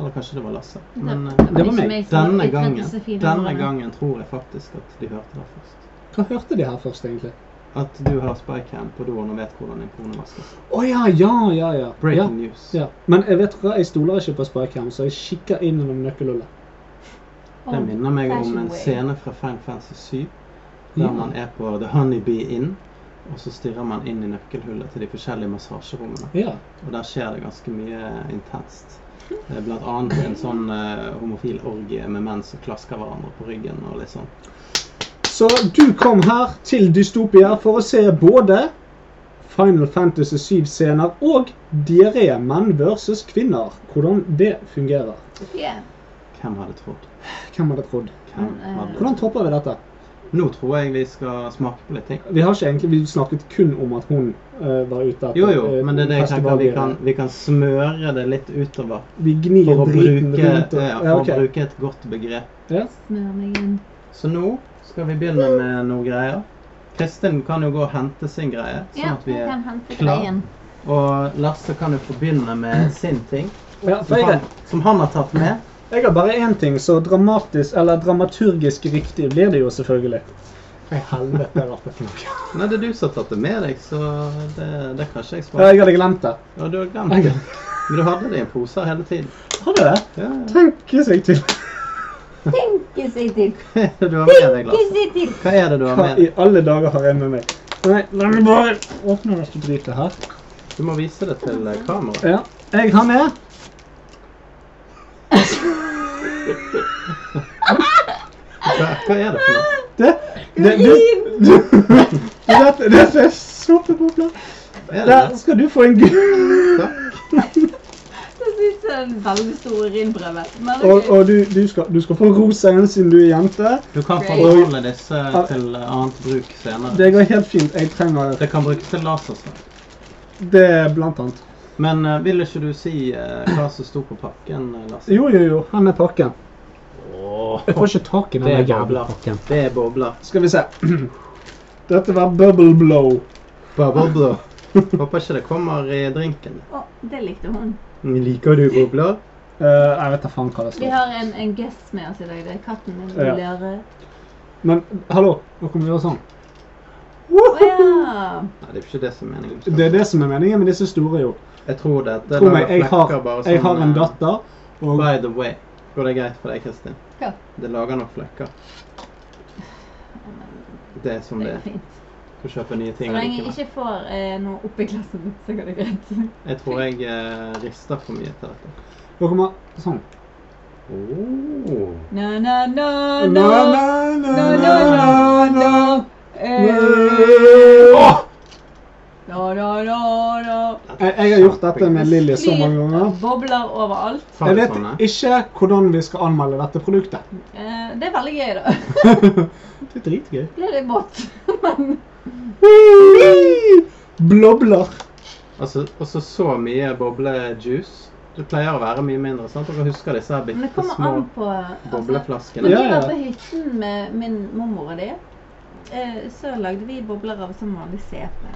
[SPEAKER 1] Eller kanskje det var Lasse. Men eh,
[SPEAKER 3] det var
[SPEAKER 4] ikke
[SPEAKER 3] meg.
[SPEAKER 4] som-
[SPEAKER 1] denne
[SPEAKER 4] jeg trengte
[SPEAKER 1] gangen,
[SPEAKER 4] så fine
[SPEAKER 1] denne
[SPEAKER 4] ordene.
[SPEAKER 1] gangen tror jeg faktisk at de hørte det først.
[SPEAKER 3] Hva hørte de her først, egentlig?
[SPEAKER 1] At du har spycam på doen og vet hvordan din kone vasker seg.
[SPEAKER 3] Å ja, ja, ja. ja. ja.
[SPEAKER 1] Breaking news.
[SPEAKER 3] Ja. Men jeg vet hva, jeg stoler ikke på spycam, så jeg kikker inn gjennom nøkkelhullet.
[SPEAKER 1] Det minner meg om
[SPEAKER 4] Fashion
[SPEAKER 1] en
[SPEAKER 4] Week.
[SPEAKER 1] scene fra Fang Fancy 7. Der
[SPEAKER 3] Ja.
[SPEAKER 1] man er på The Honeybee Inn, og så stirrer man inn i nøkkelhullet til de forskjellige massasjerommene.
[SPEAKER 3] Ja.
[SPEAKER 1] Og der skjer det ganske mye intenst. Eh, Blant annet en sånn eh, homofil orgie med menn som klasker hverandre på ryggen og litt sånn.
[SPEAKER 3] Så du kom her til Dystopia for å se både Final Fantasy 7-scener og diaré menn versus kvinner. Hvordan det fungerer.
[SPEAKER 4] Ja.
[SPEAKER 1] Hvem hadde trodd?
[SPEAKER 3] Hvem hadde trodd?
[SPEAKER 1] Hvem
[SPEAKER 4] Men, eh,
[SPEAKER 1] hadde
[SPEAKER 3] Hvordan topper vi dette?
[SPEAKER 1] Nå tror jeg vi skal smake på litt ting.
[SPEAKER 3] Vi har ikke egentlig vi snakket kun om at hun eh, var ute etter
[SPEAKER 1] Jo jo,
[SPEAKER 3] eh,
[SPEAKER 1] men det er det jeg tenker vi
[SPEAKER 3] festivaldiaré.
[SPEAKER 1] kan, vi kan smøre det litt utover.
[SPEAKER 3] Vi gnir
[SPEAKER 1] For å
[SPEAKER 3] driten
[SPEAKER 1] bruke,
[SPEAKER 3] rundt. og-
[SPEAKER 1] ja,
[SPEAKER 3] ja,
[SPEAKER 1] for å
[SPEAKER 3] ok.
[SPEAKER 1] bruke et godt begrep.
[SPEAKER 3] ja.
[SPEAKER 4] Smør meg inn.
[SPEAKER 1] Så nå skal vi begynne med noen greier. Kristin kan jo gå og hente sin greie. sånn
[SPEAKER 4] Ja,
[SPEAKER 1] at vi
[SPEAKER 4] jeg
[SPEAKER 1] er...
[SPEAKER 4] kan hente
[SPEAKER 1] klar.
[SPEAKER 4] greien.
[SPEAKER 1] Og Lasse kan jo få begynne med sin ting,
[SPEAKER 3] ja, for
[SPEAKER 1] som
[SPEAKER 3] jeg,
[SPEAKER 1] han, som han har tatt med.
[SPEAKER 3] jeg har bare én ting, så dramatisk eller dramaturgisk riktig blir det jo selvfølgelig. Hva i helvete har vært det for noe?
[SPEAKER 1] Nei, det er du som har tatt det med deg, så det, det kan ikke jeg
[SPEAKER 3] Ja,
[SPEAKER 1] svare
[SPEAKER 3] jeg hadde glemt det.
[SPEAKER 1] på. Ja, du har glemt
[SPEAKER 3] Jeg
[SPEAKER 1] det. Men du hadde det i en pose her hele tiden.
[SPEAKER 3] hadde det.
[SPEAKER 1] Ja, ja.
[SPEAKER 3] Tenke seg til.
[SPEAKER 4] Tenke seg til.
[SPEAKER 1] Hva er det du har med deg,
[SPEAKER 4] Tenke
[SPEAKER 1] Lasse?
[SPEAKER 4] seg til.
[SPEAKER 1] Hva er det du har
[SPEAKER 3] Hva
[SPEAKER 1] med
[SPEAKER 3] i
[SPEAKER 1] deg?
[SPEAKER 3] alle dager har jeg med meg? Nei, la meg bare åpne dette dritet her.
[SPEAKER 1] Du må vise det til eh, kamera.
[SPEAKER 3] Ja. Jeg har med
[SPEAKER 1] Hva, hva er det for noe?
[SPEAKER 3] det. Det, du, du, det, det, det ser såpebobler.
[SPEAKER 1] Hva Er det
[SPEAKER 3] Der skal du få en gul.
[SPEAKER 1] Takk.
[SPEAKER 4] Det synes jeg er en veldig stor rinnprøve. Men det er
[SPEAKER 3] Og,
[SPEAKER 4] gøy.
[SPEAKER 3] og du, du, skal, du skal få rosa en siden du er jente.
[SPEAKER 1] Du kan få beholde disse til eh, annet bruk senere.
[SPEAKER 3] Det går helt fint. Jeg trenger
[SPEAKER 1] Det kan brukes til lasersverd.
[SPEAKER 3] det blant annet.
[SPEAKER 1] Men eh, vil ikke du si eh, hva som sto på pakken, eh, Lasse?
[SPEAKER 3] Jo, jo, jo. Han er pakken.
[SPEAKER 1] Åh,
[SPEAKER 2] Jeg får ikke tak i
[SPEAKER 1] Det er
[SPEAKER 2] den jævla
[SPEAKER 1] bobler.
[SPEAKER 2] pakken.
[SPEAKER 1] det er bobler.
[SPEAKER 3] Skal vi se. Dette var bubble blow.
[SPEAKER 1] Bobler. Håper ikke det kommer i drinken.
[SPEAKER 4] Å, det likte hun.
[SPEAKER 1] Mm, Liker du bobler?
[SPEAKER 3] Eh, jeg vet da faen hva det
[SPEAKER 4] Vi
[SPEAKER 3] står.
[SPEAKER 4] har en, en guest med oss i dag. Det er katten min.
[SPEAKER 3] Ja.
[SPEAKER 4] Løre.
[SPEAKER 3] Men hallo, nå kan vi gjøre sånn.
[SPEAKER 4] Å ja.
[SPEAKER 1] Nei, det er ikke det som er meningen.
[SPEAKER 3] Det er det som er meningen med disse store, jo.
[SPEAKER 1] Jeg tror det. det
[SPEAKER 3] Tro
[SPEAKER 1] der
[SPEAKER 3] meg, jeg har,
[SPEAKER 1] flekker bare
[SPEAKER 3] jeg har
[SPEAKER 1] sånn,
[SPEAKER 3] en
[SPEAKER 1] eh,
[SPEAKER 3] datter. Og
[SPEAKER 1] By the way. Går det greit for deg, Kristin?
[SPEAKER 4] Ja.
[SPEAKER 1] Det lager nok flekker. Det er som
[SPEAKER 4] Det
[SPEAKER 1] det
[SPEAKER 4] er
[SPEAKER 1] er.
[SPEAKER 4] fint.
[SPEAKER 1] Du kjøper nye
[SPEAKER 4] Så
[SPEAKER 1] ting
[SPEAKER 4] lenge jeg
[SPEAKER 1] allikevel.
[SPEAKER 4] ikke får eh, noe opp i klassen min, så går det greit.
[SPEAKER 1] Jeg tror jeg eh, rister for mye til dette.
[SPEAKER 3] nå kommer sånn.
[SPEAKER 1] Oh.
[SPEAKER 4] Na, na, na, na.
[SPEAKER 3] Na, na, na,
[SPEAKER 4] Na,
[SPEAKER 3] na,
[SPEAKER 4] na,
[SPEAKER 3] na.
[SPEAKER 4] Eh,
[SPEAKER 3] Åh!
[SPEAKER 4] Na, na, na, na.
[SPEAKER 3] Jeg, jeg har gjort dette med Lilly så mange ganger.
[SPEAKER 4] Bobler overalt.
[SPEAKER 1] Sa
[SPEAKER 3] Jeg
[SPEAKER 1] du
[SPEAKER 3] vet
[SPEAKER 1] sånn, eh?
[SPEAKER 3] ikke hvordan vi skal anmelde dette produktet.
[SPEAKER 4] Eh, det er veldig gøy, da.
[SPEAKER 3] Det er dritgøy.
[SPEAKER 4] Ble litt våt, men
[SPEAKER 3] Blobler.
[SPEAKER 1] Altså, også så mye boblejuice. Det pleier å være mye mindre. sant? Dere husker disse her
[SPEAKER 4] Men det
[SPEAKER 1] bitte
[SPEAKER 4] kommer
[SPEAKER 1] små
[SPEAKER 4] an på altså,
[SPEAKER 1] bobleflaskene?
[SPEAKER 4] Når
[SPEAKER 3] Ja,
[SPEAKER 4] vi
[SPEAKER 3] ja.
[SPEAKER 4] var på hytten med min mormor og de, eh, så lagde vi bobler av som vanlig sepe.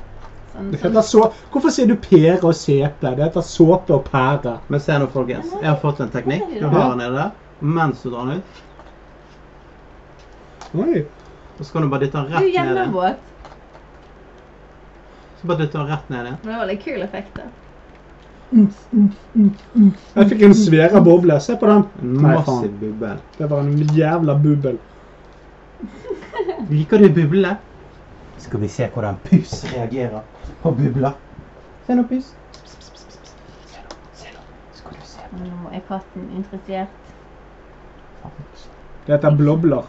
[SPEAKER 4] Sånn,
[SPEAKER 3] Det
[SPEAKER 4] sånn.
[SPEAKER 3] heter så... Hvorfor sier du pære og sepe? Det heter såpe og pære.
[SPEAKER 1] Men se nå, folkens. Jeg har fått en teknikk. Du har den nede der. Mens du drar den ut,
[SPEAKER 3] Oi.
[SPEAKER 1] og så kan du bare dytte den
[SPEAKER 4] Du
[SPEAKER 1] rett ned igjen.
[SPEAKER 4] gjennomvåt.
[SPEAKER 1] Så bare dytter den rett ned igjen.
[SPEAKER 4] Men det var litt kul effekt, da.
[SPEAKER 3] Jeg fikk en svære boble. Se på den.
[SPEAKER 1] En
[SPEAKER 3] Nei,
[SPEAKER 1] massiv
[SPEAKER 3] faen.
[SPEAKER 1] bubbel.
[SPEAKER 3] Det var en jævla bubbel.
[SPEAKER 1] Liker du buble? Skal vi se hvordan pus reagerer på bubler. Se nå, pus.
[SPEAKER 4] Men Nå er katten interessert.
[SPEAKER 3] Det heter blobler.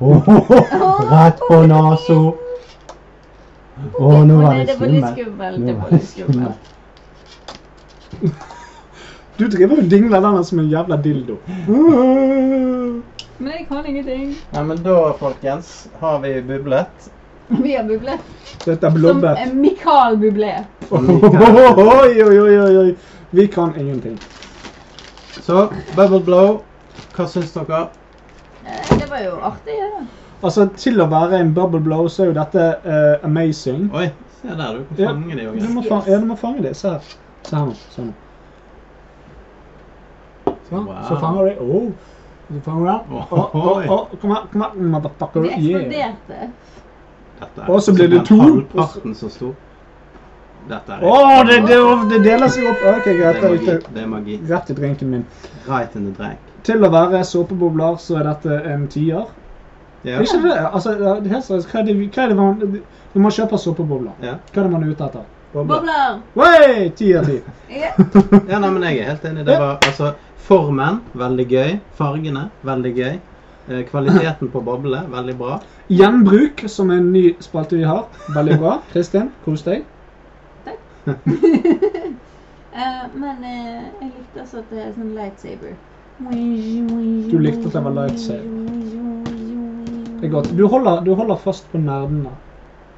[SPEAKER 4] rett på naso.
[SPEAKER 1] Å,
[SPEAKER 4] Nei, det var litt skummelt. Det var litt skummelt.
[SPEAKER 3] Du driver og dingler den som en jævla dildo.
[SPEAKER 4] Men jeg kan ingenting.
[SPEAKER 1] Nei, men da, folkens, har vi bublet.
[SPEAKER 4] Vi har bublet.
[SPEAKER 3] Det heter
[SPEAKER 4] Som
[SPEAKER 3] blobbet.
[SPEAKER 4] eh, Mikael Bublé.
[SPEAKER 1] om
[SPEAKER 3] Oi,
[SPEAKER 1] vi kan
[SPEAKER 3] oi, oi, oi, oi. Vi kan ingenting.
[SPEAKER 1] Så Bubble Blow, hva syns dere?
[SPEAKER 4] Eh, Det var jo artig, det. da.
[SPEAKER 3] Altså, til å være en bubble blow, så er jo dette eh, amazing.
[SPEAKER 1] Oi, se der, du kan
[SPEAKER 3] Ja.
[SPEAKER 1] fange de
[SPEAKER 3] Du
[SPEAKER 1] ungene.
[SPEAKER 3] må, fa ja, du må fange det. Se her. Se her nå. Se nå. Sånn. Så
[SPEAKER 1] Wow.
[SPEAKER 3] fanger du det. Oh. Du fanger det.
[SPEAKER 1] Oi.
[SPEAKER 3] Oh, oh, oh. Kom her, kom her. Motherfucker.
[SPEAKER 4] Det
[SPEAKER 3] Yeah.
[SPEAKER 4] eksploderte.
[SPEAKER 1] Dette
[SPEAKER 3] Og så blir det
[SPEAKER 1] som en
[SPEAKER 3] to.
[SPEAKER 1] halvparten så stor. Dette er
[SPEAKER 3] Å, det, det, det deler seg opp. Ok,
[SPEAKER 1] det er
[SPEAKER 3] greit.
[SPEAKER 1] magi.
[SPEAKER 3] Det er riktig.
[SPEAKER 1] Det er magi.
[SPEAKER 3] Rett i drinken min.
[SPEAKER 1] Right in the drag.
[SPEAKER 3] Til å være såpebobler, så er dette en tier.
[SPEAKER 1] Ja.
[SPEAKER 3] Er Ikke det, altså, det er helt seriøst, hva er det, vi- hva er det man Når man kjøper såpebobler,
[SPEAKER 1] Ja.
[SPEAKER 3] hva er det man er ute etter?
[SPEAKER 4] Bobler!
[SPEAKER 3] Wey! Ti av ti.
[SPEAKER 4] Ja.
[SPEAKER 1] ja, nei, men jeg er helt enig. Det var altså Formen, veldig gøy. Fargene, veldig gøy. Eh, Kvaliteten på boblene, veldig bra.
[SPEAKER 3] Gjenbruk, som er en ny spalte vi har. Veldig bra. Kristin, kos deg.
[SPEAKER 4] Eh, men eh, jeg lightsaber. også at det er sånn lightsaber.
[SPEAKER 3] Du likte at det var lightsaber. Det er godt. Du holder, du holder fast på nerdene.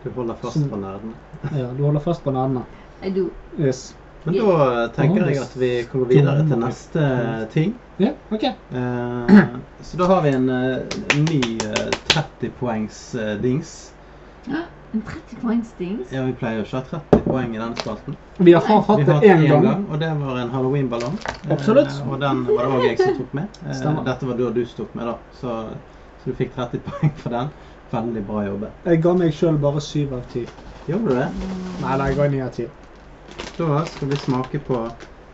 [SPEAKER 1] Du holder fast
[SPEAKER 3] Som-
[SPEAKER 1] på nerdene.
[SPEAKER 3] Ja, du holder fast på nerdene.
[SPEAKER 4] I do.
[SPEAKER 3] Yes.
[SPEAKER 1] Men da eh, tenker jeg at vi kommer videre til neste eh, ting.
[SPEAKER 3] Ja, ok.
[SPEAKER 1] Eh, så da har vi en eh, ny eh, 30 poengs eh, dings.
[SPEAKER 4] Hå, En 30 poengs dings.
[SPEAKER 1] Ja, vi pleier jo ikke å ha 30 poeng i denne spalten.
[SPEAKER 3] Vi har fa- hatt
[SPEAKER 1] Vi har
[SPEAKER 3] det
[SPEAKER 1] hatt
[SPEAKER 3] én gang.
[SPEAKER 1] og det var en halloweenballong. Eh,
[SPEAKER 3] Absolutt.
[SPEAKER 1] og den var det òg jeg som tok med. Eh,
[SPEAKER 3] Stemmer.
[SPEAKER 1] dette var da du tok med, da. Så, så du fikk 30 poeng for den. Veldig bra jobbet.
[SPEAKER 3] Jeg ga meg sjøl bare syv av ti.
[SPEAKER 1] Gjorde du det?
[SPEAKER 3] Nei, nei, jeg ga ni av ti.
[SPEAKER 1] Da skal vi smake på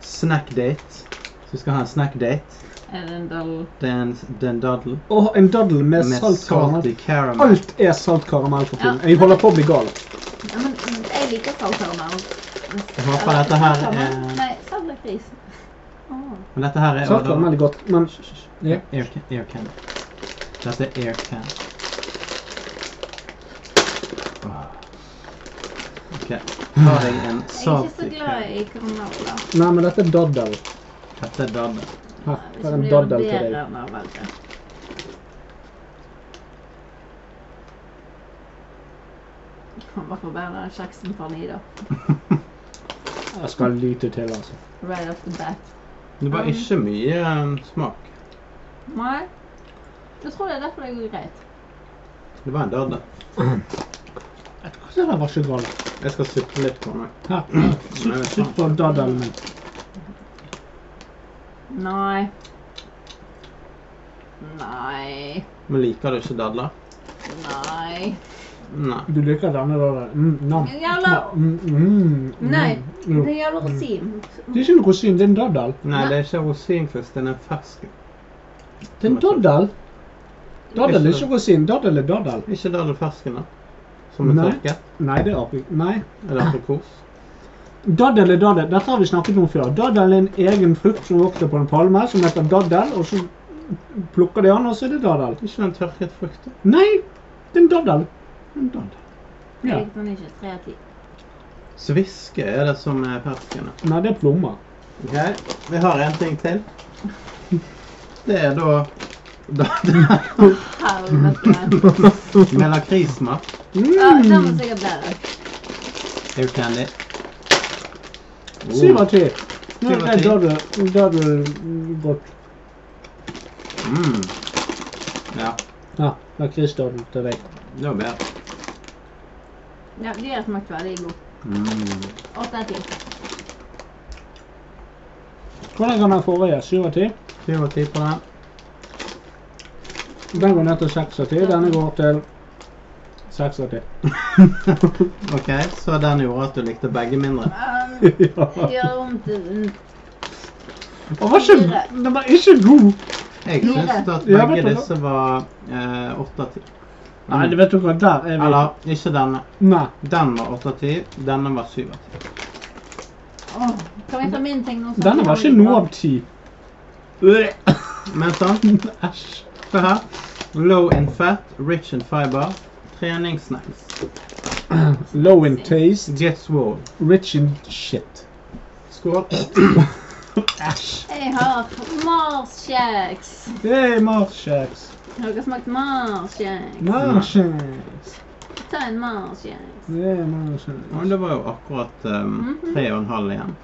[SPEAKER 1] snack date. Så vi skal ha en snack date.
[SPEAKER 4] Er det en dal...
[SPEAKER 1] Det er en, det er en daddel
[SPEAKER 3] Og en daddel med,
[SPEAKER 1] med
[SPEAKER 3] salt
[SPEAKER 1] salty
[SPEAKER 3] karamell.
[SPEAKER 1] caramel.
[SPEAKER 3] Alt er salt karamell for tiden.
[SPEAKER 4] Ja.
[SPEAKER 3] Jeg holder på å bli gal.
[SPEAKER 4] Ja, men jeg liker saltkaramell.
[SPEAKER 1] Jeg håper dette her er
[SPEAKER 4] Nei, saltlakris. Åh.
[SPEAKER 1] Men dette her er
[SPEAKER 3] Salt karamell er godt, men Ja.
[SPEAKER 1] Air can, air can. Dette er air can.
[SPEAKER 3] Ah.
[SPEAKER 1] Åh. Ok, ta deg en
[SPEAKER 4] Jeg er ikke så
[SPEAKER 1] salty
[SPEAKER 4] glad
[SPEAKER 1] can.
[SPEAKER 4] i karameller.
[SPEAKER 3] Nei, men dette er daddel.
[SPEAKER 1] Dette er dadde.
[SPEAKER 3] Her,
[SPEAKER 4] Hvis
[SPEAKER 3] her er
[SPEAKER 4] det
[SPEAKER 3] en
[SPEAKER 4] blir
[SPEAKER 3] daddel til deg.
[SPEAKER 4] bedre enn av verre. Du Kan bare forbedre den kjeksen fra Nida.
[SPEAKER 3] Jeg skal lite til, altså.
[SPEAKER 4] Right off the bat.
[SPEAKER 1] Det var ikke mye eh, smak.
[SPEAKER 4] Nei. Jeg tror det er derfor det går greit.
[SPEAKER 1] Det var en dadde.
[SPEAKER 3] Jeg tror ikke det var så galt.
[SPEAKER 1] Jeg skal suppe litt på meg. Nei,
[SPEAKER 3] Her. Sutt- Sutt på daddelen min.
[SPEAKER 4] Nei. Nei.
[SPEAKER 1] Men liker du ikke dadler?
[SPEAKER 4] Nei.
[SPEAKER 1] Nei.
[SPEAKER 3] Du liker denne daddelen. Mm, nam.
[SPEAKER 4] Jalla.
[SPEAKER 3] Mm, mm, mm.
[SPEAKER 4] Nei.
[SPEAKER 3] Jo.
[SPEAKER 4] Det er jævla rosin.
[SPEAKER 3] Det er ikke en rosin, det er en daddel.
[SPEAKER 1] Nei, det er ikke rosinfisk, det er en fersken.
[SPEAKER 3] Det er en daddel. Daddel er ikke rosin, daddel er daddel.
[SPEAKER 1] Ikke daddelfersken, da? Som er
[SPEAKER 3] Nei.
[SPEAKER 1] tørket?
[SPEAKER 3] Nei, det er apri... Nei.
[SPEAKER 1] Eller aprikos?
[SPEAKER 3] Daddel er daddel. Dette har vi snakket om før. Daddel er en egen frukt som vokser på en palme, som heter daddel, og så plukker de an, og så er det daddel.
[SPEAKER 1] Ikke den tørket frukten?
[SPEAKER 3] Nei, det er en daddel.
[SPEAKER 1] En daddel.
[SPEAKER 4] Jeg
[SPEAKER 3] Ja.
[SPEAKER 4] likte den ikke. Tre av ti.
[SPEAKER 1] Sviske er det som er fersken, da.
[SPEAKER 3] Nei, det er plommer.
[SPEAKER 1] Ok, vi har en ting til. Det er da, da det er
[SPEAKER 4] Helvete.
[SPEAKER 1] Med lakrismak.
[SPEAKER 4] Ja, den var
[SPEAKER 3] Mm.
[SPEAKER 4] sikkert bedre.
[SPEAKER 1] Air candy. Oh,
[SPEAKER 3] Syv av ti. Nei,
[SPEAKER 1] Syv av
[SPEAKER 3] nei,
[SPEAKER 1] ti.
[SPEAKER 3] Da er det da er det godt.
[SPEAKER 1] Mm. Ja,
[SPEAKER 3] Ja, lakrisdaddel til deg.
[SPEAKER 1] det var bedre.
[SPEAKER 4] Ja, de har smakt veldig god.
[SPEAKER 1] Mm.
[SPEAKER 4] Åtte av ti.
[SPEAKER 3] Hvordan kan den forrige? Syv av ti?
[SPEAKER 1] Syv av ti på den.
[SPEAKER 3] Den går ned til seks av ti. Denne går til seks av ti.
[SPEAKER 1] Ok, så den gjorde at du likte begge mindre.
[SPEAKER 4] Um,
[SPEAKER 3] Ja.
[SPEAKER 4] jeg gjør om til en
[SPEAKER 3] Den var ikke, den var ikke god.
[SPEAKER 1] Jeg
[SPEAKER 4] Fire.
[SPEAKER 1] syns at
[SPEAKER 3] Ja,
[SPEAKER 1] begge
[SPEAKER 3] vet du hva?
[SPEAKER 1] disse var eh, åtte av ti.
[SPEAKER 3] Nei, det vet du hva, der er vi.
[SPEAKER 1] Eller ikke denne.
[SPEAKER 3] Nei.
[SPEAKER 1] Den var åtte av ti, denne var syv av ti.
[SPEAKER 4] Åh, Kan vi ta min ting nå?
[SPEAKER 3] Denne var ikke noe av ti.
[SPEAKER 1] Men sånn, æsj. Se her. Low in fat, rich in fiber. Treningssnacks.
[SPEAKER 3] Low in taste,
[SPEAKER 1] Get swole.
[SPEAKER 3] rich in shit.
[SPEAKER 1] Skål.
[SPEAKER 3] Æsj.
[SPEAKER 4] Jeg har Mars-kjeks.
[SPEAKER 3] Hey, Marshacks.
[SPEAKER 4] Har dere smakt Mars-kjeks?
[SPEAKER 3] Marshacks.
[SPEAKER 4] ta en Mars, yes.
[SPEAKER 3] Det er noe sånn-
[SPEAKER 1] Ja, men det var jo akkurat um,
[SPEAKER 4] Mhm.
[SPEAKER 1] tre og en halv igjen.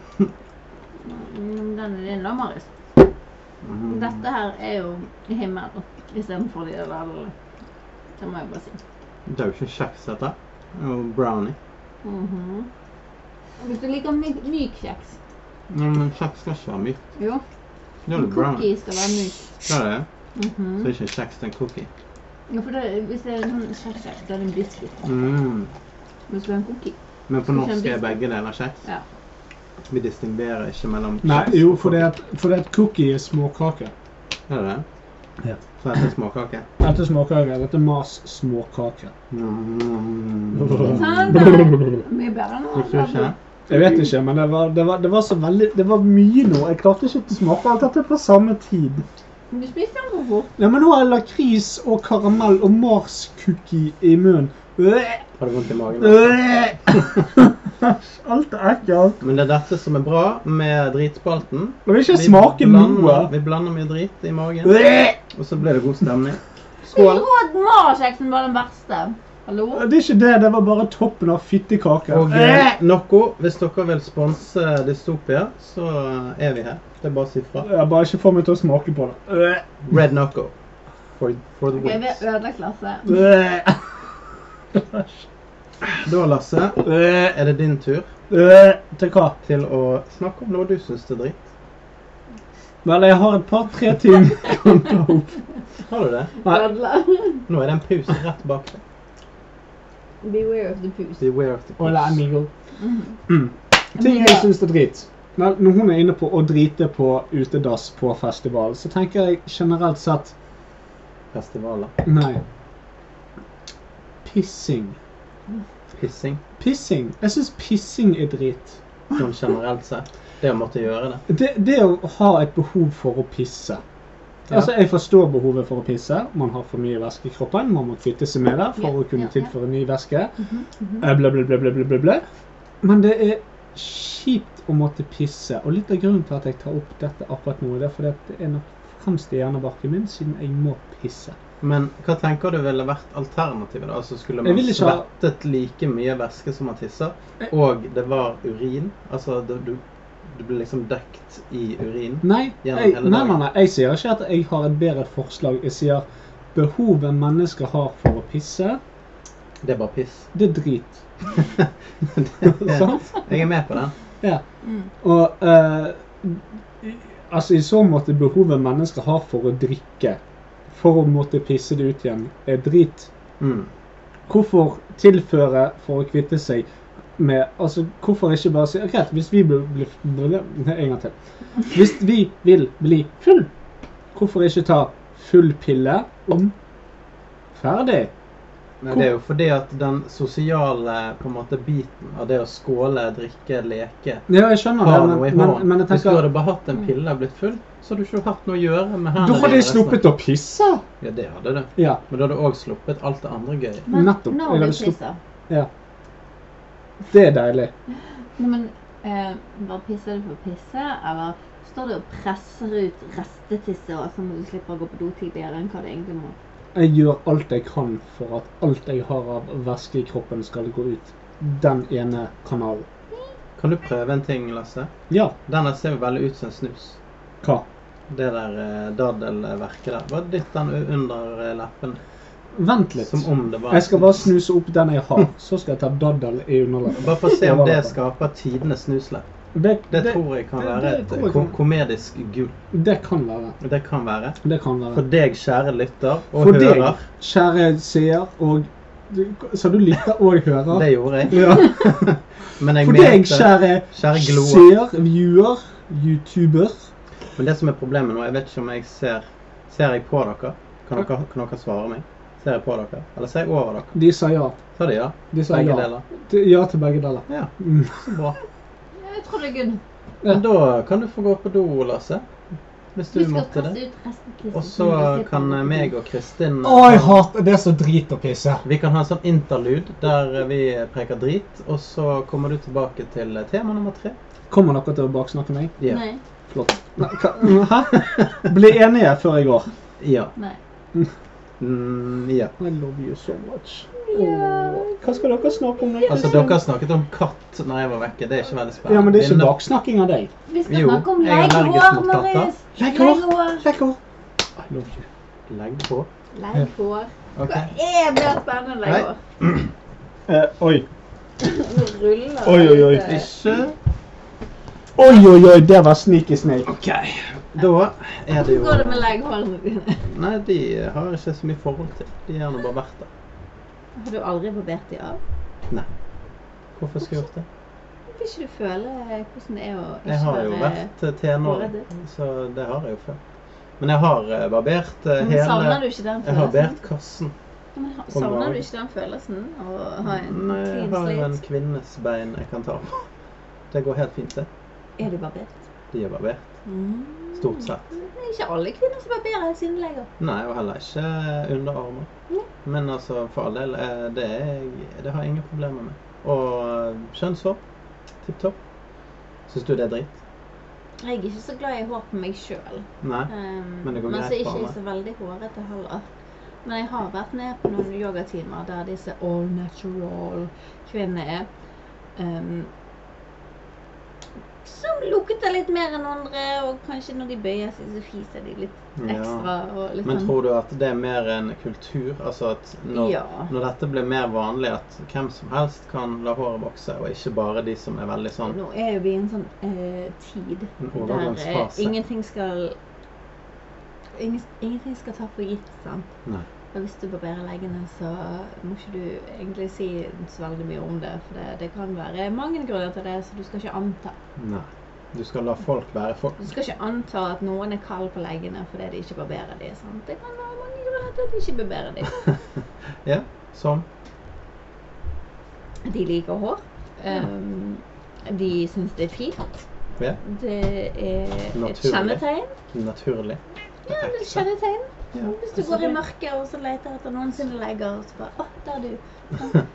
[SPEAKER 4] Mm, Den er din da, Marius.
[SPEAKER 1] Mhm.
[SPEAKER 4] Dette her er jo himmelen istedenfor de der dalene. Det må jeg bare si.
[SPEAKER 1] Det er jo ikke kjeks, dette. Det er jo brownie.
[SPEAKER 4] Mhm. Hvis du liker myk, myk kjeks
[SPEAKER 1] Ja, men kjeks skal ikke være mykt.
[SPEAKER 4] Jo,
[SPEAKER 1] Det er jo brownie.
[SPEAKER 4] cookie skal være myk.
[SPEAKER 1] Det er det. Så
[SPEAKER 4] Mhm.
[SPEAKER 1] er ikke kjeks det er en cookie.
[SPEAKER 4] Ja, for det, hvis det er sånn kjeks, så er det en biscuit.
[SPEAKER 1] Mm.
[SPEAKER 4] Hvis du har en cookie.
[SPEAKER 1] Men på
[SPEAKER 4] Du
[SPEAKER 1] norsk
[SPEAKER 4] kjenner
[SPEAKER 1] er begge deler kjeks.
[SPEAKER 4] Ja.
[SPEAKER 1] Vi distinguerer ikke mellom
[SPEAKER 3] Nei,
[SPEAKER 1] kjeks
[SPEAKER 3] jo,
[SPEAKER 1] og
[SPEAKER 3] for det
[SPEAKER 1] cookie.
[SPEAKER 3] at, for det at cookie er småkake.
[SPEAKER 1] Er det det?
[SPEAKER 3] Ja.
[SPEAKER 1] Så dette er småkake.
[SPEAKER 3] Dette er småkake. Dette er Mars småkake.
[SPEAKER 1] Mm.
[SPEAKER 4] Sant? Det er Mye bedre nå. altså.
[SPEAKER 1] Likte du ikke det?
[SPEAKER 3] Jeg vet ikke, men det var, det var, det var så veldig Det var mye nå. Jeg klarte ikke å smake alt dette på samme tid.
[SPEAKER 4] Du spiste den for fort.
[SPEAKER 3] Ja, men nå har jeg lakris og karamell og Mars-cookie i munnen. Øh,
[SPEAKER 1] Har du vondt i magen? også?
[SPEAKER 3] øh. Alt er ekkelt.
[SPEAKER 1] Men det er dette som er bra med dritspalten.
[SPEAKER 3] Jeg vil ikke smake noe.
[SPEAKER 1] vi blander mye drit i magen,
[SPEAKER 3] Øh.
[SPEAKER 1] og så blir det god stemning.
[SPEAKER 3] Skål.
[SPEAKER 4] Rå Mars-kjeksen var den verste. Hallo?
[SPEAKER 3] Det er ikke det. Det var bare toppen av fittekake.
[SPEAKER 1] Og
[SPEAKER 3] Øh.
[SPEAKER 1] eh, Noko, hvis dere vil sponse Dystopia, så er vi her. Det er bare å si fra.
[SPEAKER 3] Jeg bare ikke får meg til å smake på det. Øh.
[SPEAKER 1] Red Noko. For, for the
[SPEAKER 4] Ok, vi
[SPEAKER 1] wins.
[SPEAKER 4] ødela klasse.
[SPEAKER 3] Øh.
[SPEAKER 1] Da, Lasse,
[SPEAKER 3] Øh.
[SPEAKER 1] er det din tur
[SPEAKER 3] Øh. Til hva?
[SPEAKER 1] til å snakke om noe du syns er dritt.
[SPEAKER 3] Vel, jeg har et par-tre ting jeg kan ta opp.
[SPEAKER 1] Har du det?
[SPEAKER 3] Nei.
[SPEAKER 4] Ødela.
[SPEAKER 1] Nå er det en pus rett bak deg.
[SPEAKER 4] Beware of the pus.
[SPEAKER 1] Beware of the pus.
[SPEAKER 3] Hola, amigo.
[SPEAKER 4] Mhm.
[SPEAKER 3] Mm. Ting jeg syns er drit. Når, når hun er inne på å drite på utedass på festival, så tenker jeg generelt sett
[SPEAKER 1] Festivaler.
[SPEAKER 3] nei. Pissing.
[SPEAKER 1] Pissing.
[SPEAKER 3] Pissing. Jeg syns pissing er drit.
[SPEAKER 1] Sånn generelt sett. Det å måtte gjøre det.
[SPEAKER 3] Det, det å ha et behov for å pisse
[SPEAKER 1] Ja.
[SPEAKER 3] Altså, Jeg forstår behovet for å pisse. Man har for mye væske i kroppen. Man må kvitte seg med det for
[SPEAKER 4] Ja,
[SPEAKER 3] å kunne
[SPEAKER 4] ja, ja.
[SPEAKER 3] tilføre ny væske.
[SPEAKER 4] Mhm, mhm.
[SPEAKER 3] Eh, Bla, bla, bla, bla, bla, bla, bla. Men det er kjipt å måtte pisse. Og litt av grunnen til at jeg tar opp dette akkurat nå, det er fordi at det er nok fremst i hjernebarken min, siden jeg må pisse.
[SPEAKER 1] Men hva tenker du ville vært alternativet? da? Altså Skulle
[SPEAKER 3] Jeg
[SPEAKER 1] man
[SPEAKER 3] vil ikke ha-
[SPEAKER 1] svettet like mye væske som man tisser,
[SPEAKER 3] Jeg-
[SPEAKER 1] og det var urin? Altså det, du, du ble liksom dekt i urin?
[SPEAKER 3] Nei,
[SPEAKER 1] Gjennom
[SPEAKER 3] jeg,
[SPEAKER 1] hele
[SPEAKER 3] nei, nei,
[SPEAKER 1] dagen.
[SPEAKER 3] nei, jeg sier ikke at jeg har et bedre forslag. Jeg sier behovet mennesker har for å pisse,
[SPEAKER 1] Det er bare piss.
[SPEAKER 3] det er drit. Sånn.
[SPEAKER 1] jeg
[SPEAKER 3] Sant?
[SPEAKER 1] er med på den.
[SPEAKER 4] Mm.
[SPEAKER 3] Og eh, i- altså i så måte behovet mennesker har for å drikke, for å måtte pisse det ut igjen, er drit.
[SPEAKER 1] Mm.
[SPEAKER 3] Hvorfor tilføre for å kvitte seg med Altså, hvorfor ikke bare si greit, hvis vi blir bli, bli, nei, En gang til. Hvis vi vil bli full, hvorfor ikke ta full pille om ferdig?
[SPEAKER 1] Men det er jo fordi at den sosiale på en måte, biten av det å skåle, drikke, leke
[SPEAKER 3] Ja, jeg skjønner det,
[SPEAKER 1] har noe i
[SPEAKER 3] men, men,
[SPEAKER 1] hånden.
[SPEAKER 3] men jeg
[SPEAKER 1] Hvis du
[SPEAKER 3] tenker Mm.
[SPEAKER 1] hadde bare hatt en pille og blitt full, så hadde du ikke hatt noe å gjøre med hendene.
[SPEAKER 3] Da hadde
[SPEAKER 1] dine
[SPEAKER 3] jeg
[SPEAKER 1] resten av-
[SPEAKER 3] sluppet å pisse!
[SPEAKER 1] Ja, det hadde du.
[SPEAKER 3] Ja.
[SPEAKER 1] Men du hadde òg sluppet alt det andre gøye.
[SPEAKER 4] Men
[SPEAKER 3] Nettopp.
[SPEAKER 4] Når
[SPEAKER 3] Jeg
[SPEAKER 4] vi
[SPEAKER 3] hadde slutt-
[SPEAKER 4] pisser
[SPEAKER 3] Det er deilig.
[SPEAKER 4] Nei, men eh, bare pisser du for å pisse, eller står du og presser ut restetisse, og så må du slippe å gå på do tidligere enn hva du egentlig må?
[SPEAKER 3] Jeg gjør alt jeg kan for at alt jeg har av væske i kroppen, skal gå ut den ene kanalen.
[SPEAKER 1] Kan du prøve en ting, Lasse?
[SPEAKER 3] Ja.
[SPEAKER 1] Den der ser jo veldig ut som en snus.
[SPEAKER 3] Hva?
[SPEAKER 1] Det der eh, daddelverket der. Bare dytt den u- under eh, leppen.
[SPEAKER 3] Vent litt.
[SPEAKER 1] Som om det var
[SPEAKER 3] Jeg skal bare snuse opp den jeg har, så skal jeg ta daddel i underlaget.
[SPEAKER 1] Bare for å se om
[SPEAKER 3] Det var
[SPEAKER 1] det
[SPEAKER 3] leppen.
[SPEAKER 1] skaper tidenes snuslapp.
[SPEAKER 3] Det,
[SPEAKER 1] Det,
[SPEAKER 3] det,
[SPEAKER 1] tror jeg kan
[SPEAKER 3] det-
[SPEAKER 1] være
[SPEAKER 3] det
[SPEAKER 1] et
[SPEAKER 3] tror jeg
[SPEAKER 1] ko
[SPEAKER 3] kan-
[SPEAKER 1] komedisk gull.
[SPEAKER 3] det kan være.
[SPEAKER 1] Det kan være.
[SPEAKER 3] Det kan
[SPEAKER 1] For
[SPEAKER 3] være.
[SPEAKER 1] deg, kjære lytter og
[SPEAKER 3] For deg.
[SPEAKER 1] hører.
[SPEAKER 3] Kjære seer og du- Sa du lytter og hører?
[SPEAKER 1] Det gjorde jeg.
[SPEAKER 3] Ja.
[SPEAKER 1] Men jeg
[SPEAKER 3] For deg,
[SPEAKER 1] mente
[SPEAKER 3] kjære
[SPEAKER 1] Kjære gloer.
[SPEAKER 3] seer, viewer, youtuber
[SPEAKER 1] Men det som er problemet nå, jeg vet ikke om jeg ser Ser jeg på dere? Kan dere, kan dere svare meg? Ser jeg på dere? Eller ser jeg over dere?
[SPEAKER 3] De sa ja.
[SPEAKER 1] Ta det, ja.
[SPEAKER 3] De sa
[SPEAKER 1] Begge
[SPEAKER 3] ja.
[SPEAKER 1] deler.
[SPEAKER 3] Til- Ja til begge deler.
[SPEAKER 1] Ja,
[SPEAKER 3] Mm.
[SPEAKER 1] så bra.
[SPEAKER 4] Ja, Jeg tror det er good.
[SPEAKER 1] Men da kan du få gå på do, Lasse. Hvis
[SPEAKER 4] Vi
[SPEAKER 1] du
[SPEAKER 4] skal
[SPEAKER 1] måtte det.
[SPEAKER 4] presse ut restetisse.
[SPEAKER 1] Og så kan meg og Kristin
[SPEAKER 3] Å, jeg hater Det er så drit å pisse.
[SPEAKER 1] Vi kan ha en sånn interlude der vi preker drit, og så kommer du tilbake til tema nummer tre.
[SPEAKER 3] Kommer dere til å baksnakke meg?
[SPEAKER 1] Ja.
[SPEAKER 4] Nei.
[SPEAKER 3] Flott. Nei, hva- Hæ? Bli enige før jeg går.
[SPEAKER 1] ja.
[SPEAKER 4] nei.
[SPEAKER 1] Mm, ja.
[SPEAKER 3] I love you so much.
[SPEAKER 4] Ja.
[SPEAKER 3] Åh, Hva skal dere snakke om? nå?
[SPEAKER 1] Altså,
[SPEAKER 4] sånn?
[SPEAKER 1] dere har snakket om katt når jeg var vekke. Det er ikke veldig spennende.
[SPEAKER 3] Ja, men det er ikke
[SPEAKER 1] Nå-
[SPEAKER 3] baksnakking av deg.
[SPEAKER 4] Vi skal
[SPEAKER 1] Jo,
[SPEAKER 4] snakke om
[SPEAKER 1] jeg er allergisk mot
[SPEAKER 4] legghår,
[SPEAKER 1] katter.
[SPEAKER 4] Marius.
[SPEAKER 3] Legghår.
[SPEAKER 4] Legghår.
[SPEAKER 3] Legg over. I love you.
[SPEAKER 1] Legg på.
[SPEAKER 4] Legghår.
[SPEAKER 1] Ok.
[SPEAKER 4] Hva er det spennende legghår?
[SPEAKER 3] Eh, oi.
[SPEAKER 4] Nå ruller det
[SPEAKER 3] Oi, oi, oi.
[SPEAKER 4] litt, eh,
[SPEAKER 1] Ikke
[SPEAKER 3] Oi, oi, oi, der var sneaky snake.
[SPEAKER 1] OK. Da er det
[SPEAKER 4] Hvordan går det
[SPEAKER 1] jo
[SPEAKER 4] med legghårene dine?
[SPEAKER 1] Nei, de har jeg ikke så mye forhold til. De har nå bare vært der.
[SPEAKER 4] Har du aldri barbert de av?
[SPEAKER 1] Hvorfor skulle jeg gjort det?
[SPEAKER 4] Vil ikke du føle eh, hvordan det er å ikke
[SPEAKER 1] Jeg har jo
[SPEAKER 4] være
[SPEAKER 1] vært eh, tenåring, så det har jeg jo før. Men jeg har eh, barbert eh,
[SPEAKER 4] Men savner
[SPEAKER 1] hele
[SPEAKER 4] du ikke den
[SPEAKER 1] Jeg har
[SPEAKER 4] følelsen?
[SPEAKER 1] barbert kassen.
[SPEAKER 4] Ja, men ha- savner du ikke den følelsen å ha en
[SPEAKER 1] Nei, eh, jeg
[SPEAKER 4] clean
[SPEAKER 1] har jo en
[SPEAKER 4] slate?
[SPEAKER 1] kvinnes bein jeg kan ta på. Det går helt fint, det.
[SPEAKER 4] Er du barbert?
[SPEAKER 1] De er barbert.
[SPEAKER 4] Mm.
[SPEAKER 1] Stort sett.
[SPEAKER 4] Det er ikke alle kvinner som barberer sine legger.
[SPEAKER 1] Nei, og heller ikke underarmer.
[SPEAKER 4] Nei.
[SPEAKER 1] Men altså, for all del, eh, det, er, jeg- det har jeg ingen problemer med. Og eh, kjønnshår, tipp topp. Syns du det er dritt?
[SPEAKER 4] Jeg er ikke så glad i hår på meg sjøl.
[SPEAKER 1] Nei? Men det går
[SPEAKER 4] Ehm, men
[SPEAKER 1] greit
[SPEAKER 4] så er
[SPEAKER 1] for
[SPEAKER 4] ikke jeg
[SPEAKER 1] alle.
[SPEAKER 4] så veldig hårete heller. Men jeg har vært med på noen yogatimer der disse all natural kvinner er. ehm, som lukter litt mer enn andre, og kanskje når de bøyer seg, så fiser de litt ekstra. Og litt
[SPEAKER 1] Men
[SPEAKER 4] sånn.
[SPEAKER 1] tror du at det er mer en kultur? Altså at når,
[SPEAKER 4] Ja.
[SPEAKER 1] når dette blir mer vanlig, at hvem som helst kan la håret vokse, og ikke bare de som er veldig sånn
[SPEAKER 4] Nå er jo vi i en sånn eh, tid
[SPEAKER 1] en
[SPEAKER 4] der eh,
[SPEAKER 1] overgangsfase?
[SPEAKER 4] ingenting skal ingen, Ingenting skal ta for gitt, sant?
[SPEAKER 1] Nei.
[SPEAKER 4] Og hvis du barberer leggene, så må ikke du egentlig si så veldig mye om det. For det, det kan være mange grunner til det, så du skal ikke anta.
[SPEAKER 1] Nei. Du skal la folk være folk.
[SPEAKER 4] Du skal ikke anta at noen er kald på leggene fordi de ikke barberer de, sant? Det kan være mange grunner til at de ikke barberer de.
[SPEAKER 1] Ja, som
[SPEAKER 4] De liker hår. Um, de syns det er fint.
[SPEAKER 1] Ja.
[SPEAKER 4] Det er et
[SPEAKER 1] Naturlig.
[SPEAKER 4] kjennetegn.
[SPEAKER 1] naturlig.
[SPEAKER 4] Ja, det er et kjennetegn.
[SPEAKER 1] Ja.
[SPEAKER 4] Hvis du går i mørket og så leter etter noen sine legger, og så bare Å, der er du.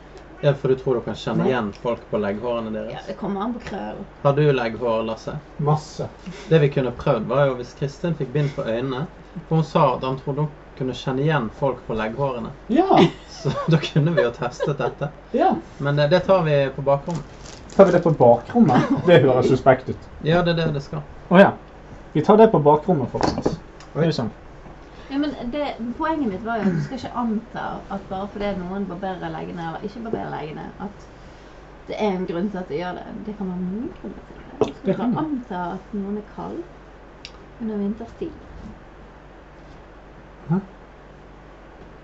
[SPEAKER 1] ja, for du tror du kan kjenne igjen folk på legghårene
[SPEAKER 4] Ja,
[SPEAKER 1] deres?
[SPEAKER 4] det kommer an på krøll.
[SPEAKER 1] Har du legghår, Lasse?
[SPEAKER 3] Masse.
[SPEAKER 1] Det vi kunne prøvd, var jo hvis Kristin fikk bind på øynene. For hun sa at han trodde hun kunne kjenne igjen folk på legghårene.
[SPEAKER 3] Ja,
[SPEAKER 1] Så da kunne vi jo testet dette.
[SPEAKER 3] ja.
[SPEAKER 1] Men det, det tar vi på bakrommet.
[SPEAKER 3] Tar vi det på bakrommet? Det høres suspekt ut.
[SPEAKER 1] Ja, det er det det skal.
[SPEAKER 3] Å ja. Vi tar det på bakrommet, folkens. Det er jo sånn.
[SPEAKER 4] Ja, men det, Poenget mitt var jo at du skal ikke anta at bare fordi noen barberer leggene eller ikke barberer leggene, at det er en grunn til at de gjør det. Det kan være mange grunner til det. Du skal
[SPEAKER 3] Det
[SPEAKER 4] ikke
[SPEAKER 3] kan det.
[SPEAKER 4] anta at noen er kald under vinterstid.
[SPEAKER 3] Hæ?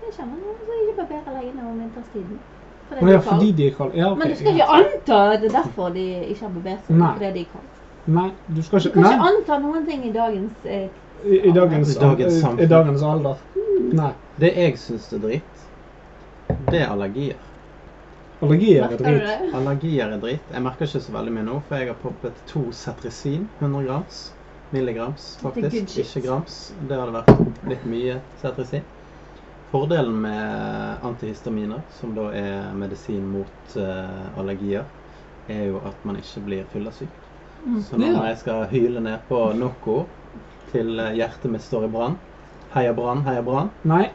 [SPEAKER 4] Jeg kjenner noen som ikke barberer leggene om vinterstiden. Fordi
[SPEAKER 3] Å
[SPEAKER 4] de
[SPEAKER 3] ja,
[SPEAKER 4] er kald.
[SPEAKER 3] fordi de er kalde. Ja, ok.
[SPEAKER 4] Men du skal ikke anta at det er derfor de ikke har barbert seg.
[SPEAKER 3] Nei.
[SPEAKER 4] Fordi de er kalde.
[SPEAKER 3] Nei, du skal
[SPEAKER 4] Du
[SPEAKER 3] ikke
[SPEAKER 4] kan
[SPEAKER 3] Nei,
[SPEAKER 4] ikke anta noen ting i dagens eh,
[SPEAKER 3] i, i, dagens,
[SPEAKER 1] I dagens
[SPEAKER 3] i-
[SPEAKER 1] samfunn.
[SPEAKER 3] I dagens alder. Nei.
[SPEAKER 1] Det jeg syns er dritt, det er allergier.
[SPEAKER 3] Allergier er
[SPEAKER 4] Merker du
[SPEAKER 3] drit.
[SPEAKER 4] det?
[SPEAKER 1] Allergier er dritt. Jeg merker ikke så veldig mye nå, for jeg har poppet to setrisin, 100 grams. Milligrams,
[SPEAKER 4] Det er good
[SPEAKER 1] faktisk.
[SPEAKER 4] shit.
[SPEAKER 1] Ikke grams. Det hadde vært litt mye setrisin. Fordelen med antihistaminer, som da er medisin mot eh, allergier, er jo at man ikke blir fyllesyk.
[SPEAKER 4] Mm,
[SPEAKER 1] Så når jeg skal hyle ned på Noco til eh, hjertet mitt står i brann Heia brann, heia brann.
[SPEAKER 3] Nei.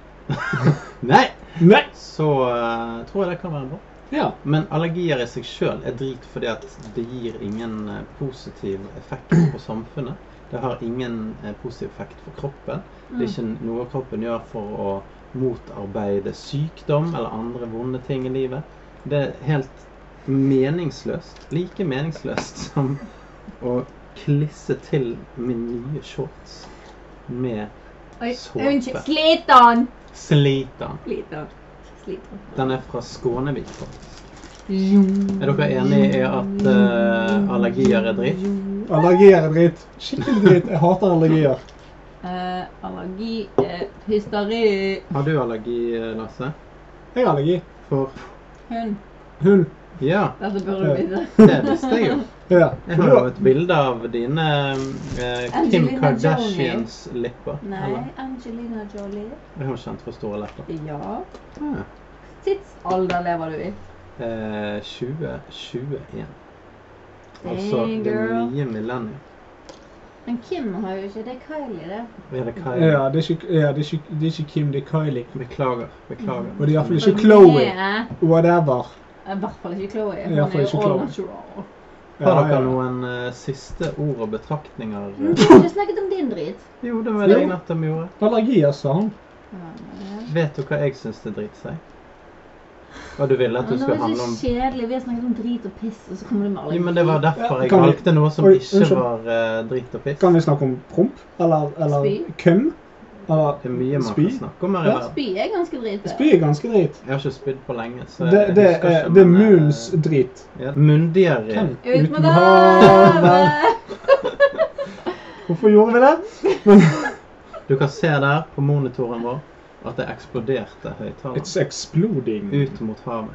[SPEAKER 1] Nei!
[SPEAKER 3] Nei!
[SPEAKER 1] Så eh, tror jeg det kan være bra.
[SPEAKER 3] Ja.
[SPEAKER 1] Men allergier i seg sjøl er drit fordi at det gir ingen eh, positiv effekt på samfunnet. Det har ingen eh, positiv effekt for kroppen.
[SPEAKER 4] mm.
[SPEAKER 1] Det er ikke noe kroppen gjør for å motarbeide sykdom eller andre vonde ting i livet. Det er helt meningsløst. Like meningsløst som å klisse til min nye shorts med
[SPEAKER 4] Oi,
[SPEAKER 1] Såpe.
[SPEAKER 4] unnskyld. Slitan!
[SPEAKER 1] Slitan.
[SPEAKER 4] Slitan. Slitan.
[SPEAKER 1] Den er fra Skånevik, faktisk. Er dere enig i at eh, allergier er dritt?
[SPEAKER 3] Allergier er drit. Skikkelig drit. Jeg hater allergier.
[SPEAKER 4] Eh, allergi, eh, hysteri,
[SPEAKER 1] Har du allergi, eh, Lasse?
[SPEAKER 3] Jeg har allergi.
[SPEAKER 1] For
[SPEAKER 4] hund.
[SPEAKER 3] Hun.
[SPEAKER 1] Ja,
[SPEAKER 4] Dette burde du vite.
[SPEAKER 1] det visste jeg jo.
[SPEAKER 3] Ja.
[SPEAKER 1] Jeg har jo et bilde av dine eh, Kim
[SPEAKER 4] Angelina
[SPEAKER 1] Kardashians lepper.
[SPEAKER 4] Nei,
[SPEAKER 1] eller?
[SPEAKER 4] Angelina Jolie.
[SPEAKER 1] Jeg har jo kjent for store lepper.
[SPEAKER 4] Ja.
[SPEAKER 1] Ah.
[SPEAKER 4] Tidsalder lever du i.
[SPEAKER 1] Eh, 2021.
[SPEAKER 4] Dang,
[SPEAKER 1] Altså det
[SPEAKER 4] girl.
[SPEAKER 1] nye millennium.
[SPEAKER 4] Men Kim har jo ikke det. Kylie, det.
[SPEAKER 1] Vi hadde Kylie.
[SPEAKER 3] Ja, det er ikke, ja, det er ikke, det er ikke Kim, det er Kylie.
[SPEAKER 1] Beklager. Beklager.
[SPEAKER 3] Og det er iallfall
[SPEAKER 4] Og
[SPEAKER 3] ikke
[SPEAKER 4] hun
[SPEAKER 3] Chloe.
[SPEAKER 4] er-
[SPEAKER 3] Whatever.
[SPEAKER 4] I hvert fall ikke Chloe. Hun
[SPEAKER 3] I hvert fall
[SPEAKER 4] er
[SPEAKER 3] ikke
[SPEAKER 4] jo all
[SPEAKER 3] Chloe.
[SPEAKER 4] natural.
[SPEAKER 1] Har
[SPEAKER 3] Ja,
[SPEAKER 1] dere
[SPEAKER 3] ja.
[SPEAKER 1] noen eh, siste ord og betraktninger?
[SPEAKER 4] Mm, Du har ikke snakket om din drit.
[SPEAKER 1] Jo, det var det
[SPEAKER 3] Jo.
[SPEAKER 1] jeg nettopp gjorde.
[SPEAKER 3] Allergier, sa han.
[SPEAKER 4] Ja, ja.
[SPEAKER 1] Vet du hva jeg syns det driter seg? Og du ville at det
[SPEAKER 4] Nå
[SPEAKER 1] skulle
[SPEAKER 4] er det
[SPEAKER 1] handle
[SPEAKER 4] så
[SPEAKER 1] om
[SPEAKER 4] kjedelig. Vi har snakket om drit og piss, og så kommer du med
[SPEAKER 1] Jo, men det var derfor jeg
[SPEAKER 3] Kan vi-
[SPEAKER 1] valgte noe som
[SPEAKER 3] Oi,
[SPEAKER 1] ikke
[SPEAKER 3] unnskyld.
[SPEAKER 1] var eh, drit og piss.
[SPEAKER 3] Kan vi snakke om promp? Eller, eller
[SPEAKER 4] Spy.
[SPEAKER 3] køm? Eller
[SPEAKER 1] Det er mye man
[SPEAKER 3] spy?
[SPEAKER 1] kan snakke om her i
[SPEAKER 3] Ja.
[SPEAKER 1] verden.
[SPEAKER 4] Spy er ganske drit.
[SPEAKER 3] Spy er ganske drit.
[SPEAKER 1] Jeg har ikke spydd på lenge, så
[SPEAKER 3] Det,
[SPEAKER 1] jeg
[SPEAKER 3] det,
[SPEAKER 1] husker
[SPEAKER 3] er,
[SPEAKER 1] ikke,
[SPEAKER 3] det er
[SPEAKER 1] men, eh,
[SPEAKER 3] Moons drit.
[SPEAKER 1] ja. Myndigere.
[SPEAKER 3] Hvem?
[SPEAKER 4] Ut med
[SPEAKER 3] Uten havet.
[SPEAKER 4] havet!
[SPEAKER 3] Hvorfor gjorde vi det?
[SPEAKER 1] Du kan se der på monitoren vår at det eksploderte høyttaleren
[SPEAKER 3] It's exploding.
[SPEAKER 1] ut mot havet.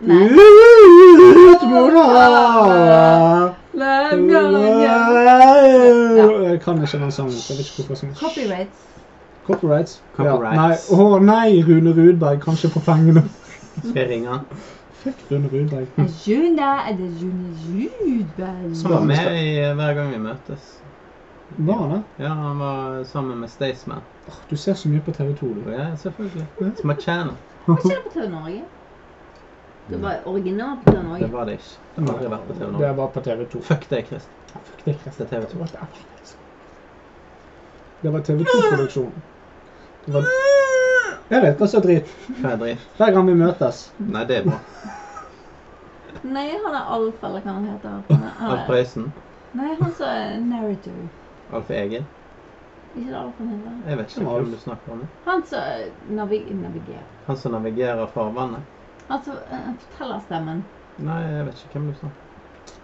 [SPEAKER 4] Nei.
[SPEAKER 3] Ut mot havet!
[SPEAKER 4] Lenge, lenge.
[SPEAKER 3] Jeg kan ikke den sangen. så Jeg vet ikke hvorfor jeg synger.
[SPEAKER 4] Copyrights.
[SPEAKER 3] Copyrights?
[SPEAKER 1] Copyrights.
[SPEAKER 3] Ja, nei. Å nei, Rune Rudberg. Kanskje på pengene.
[SPEAKER 1] Skal jeg ringe han?
[SPEAKER 3] Mm. Fuck Rune Rudberg.
[SPEAKER 4] Er Juna, er det June Rudberg?
[SPEAKER 1] Han var med i eh, Hver gang vi møtes.
[SPEAKER 3] Var han det?
[SPEAKER 1] Ja, han var sammen med Staysman.
[SPEAKER 3] Åh, Du ser så mye på TV 2, du.
[SPEAKER 1] Ja, selvfølgelig. Som er channel.
[SPEAKER 4] Var ikke det på TV Norge? Det var originalt på TV
[SPEAKER 1] Det
[SPEAKER 4] Norge.
[SPEAKER 1] var det ikke. Det har aldri vært på TV
[SPEAKER 3] Det
[SPEAKER 1] Norge.
[SPEAKER 3] var på TV 2.
[SPEAKER 1] Fuck deg, Chris.
[SPEAKER 3] Fuck det, Chris.
[SPEAKER 1] Det er TV 2.
[SPEAKER 3] Det var TV 2-produksjon. Det var... Jeg vet hva som er dritt.
[SPEAKER 1] Hva er dritt?
[SPEAKER 3] Hver gang vi møtes.
[SPEAKER 1] Nei, det er bra.
[SPEAKER 4] Nei, han er Alf, eller hva han heter. Han er- han er-
[SPEAKER 1] Alf Prøysen.
[SPEAKER 4] Nei, han som er narrator.
[SPEAKER 1] Alf Egil.
[SPEAKER 4] Ikke det Alf han heter?
[SPEAKER 1] Jeg vet ikke
[SPEAKER 3] Hvem er Alf?
[SPEAKER 1] hvem du snakker om.
[SPEAKER 4] Han som er navi navigerer.
[SPEAKER 1] Han som navigerer farvannet.
[SPEAKER 4] Han som eh, forteller stemmen.
[SPEAKER 1] Nei, jeg vet ikke hvem du snakker om.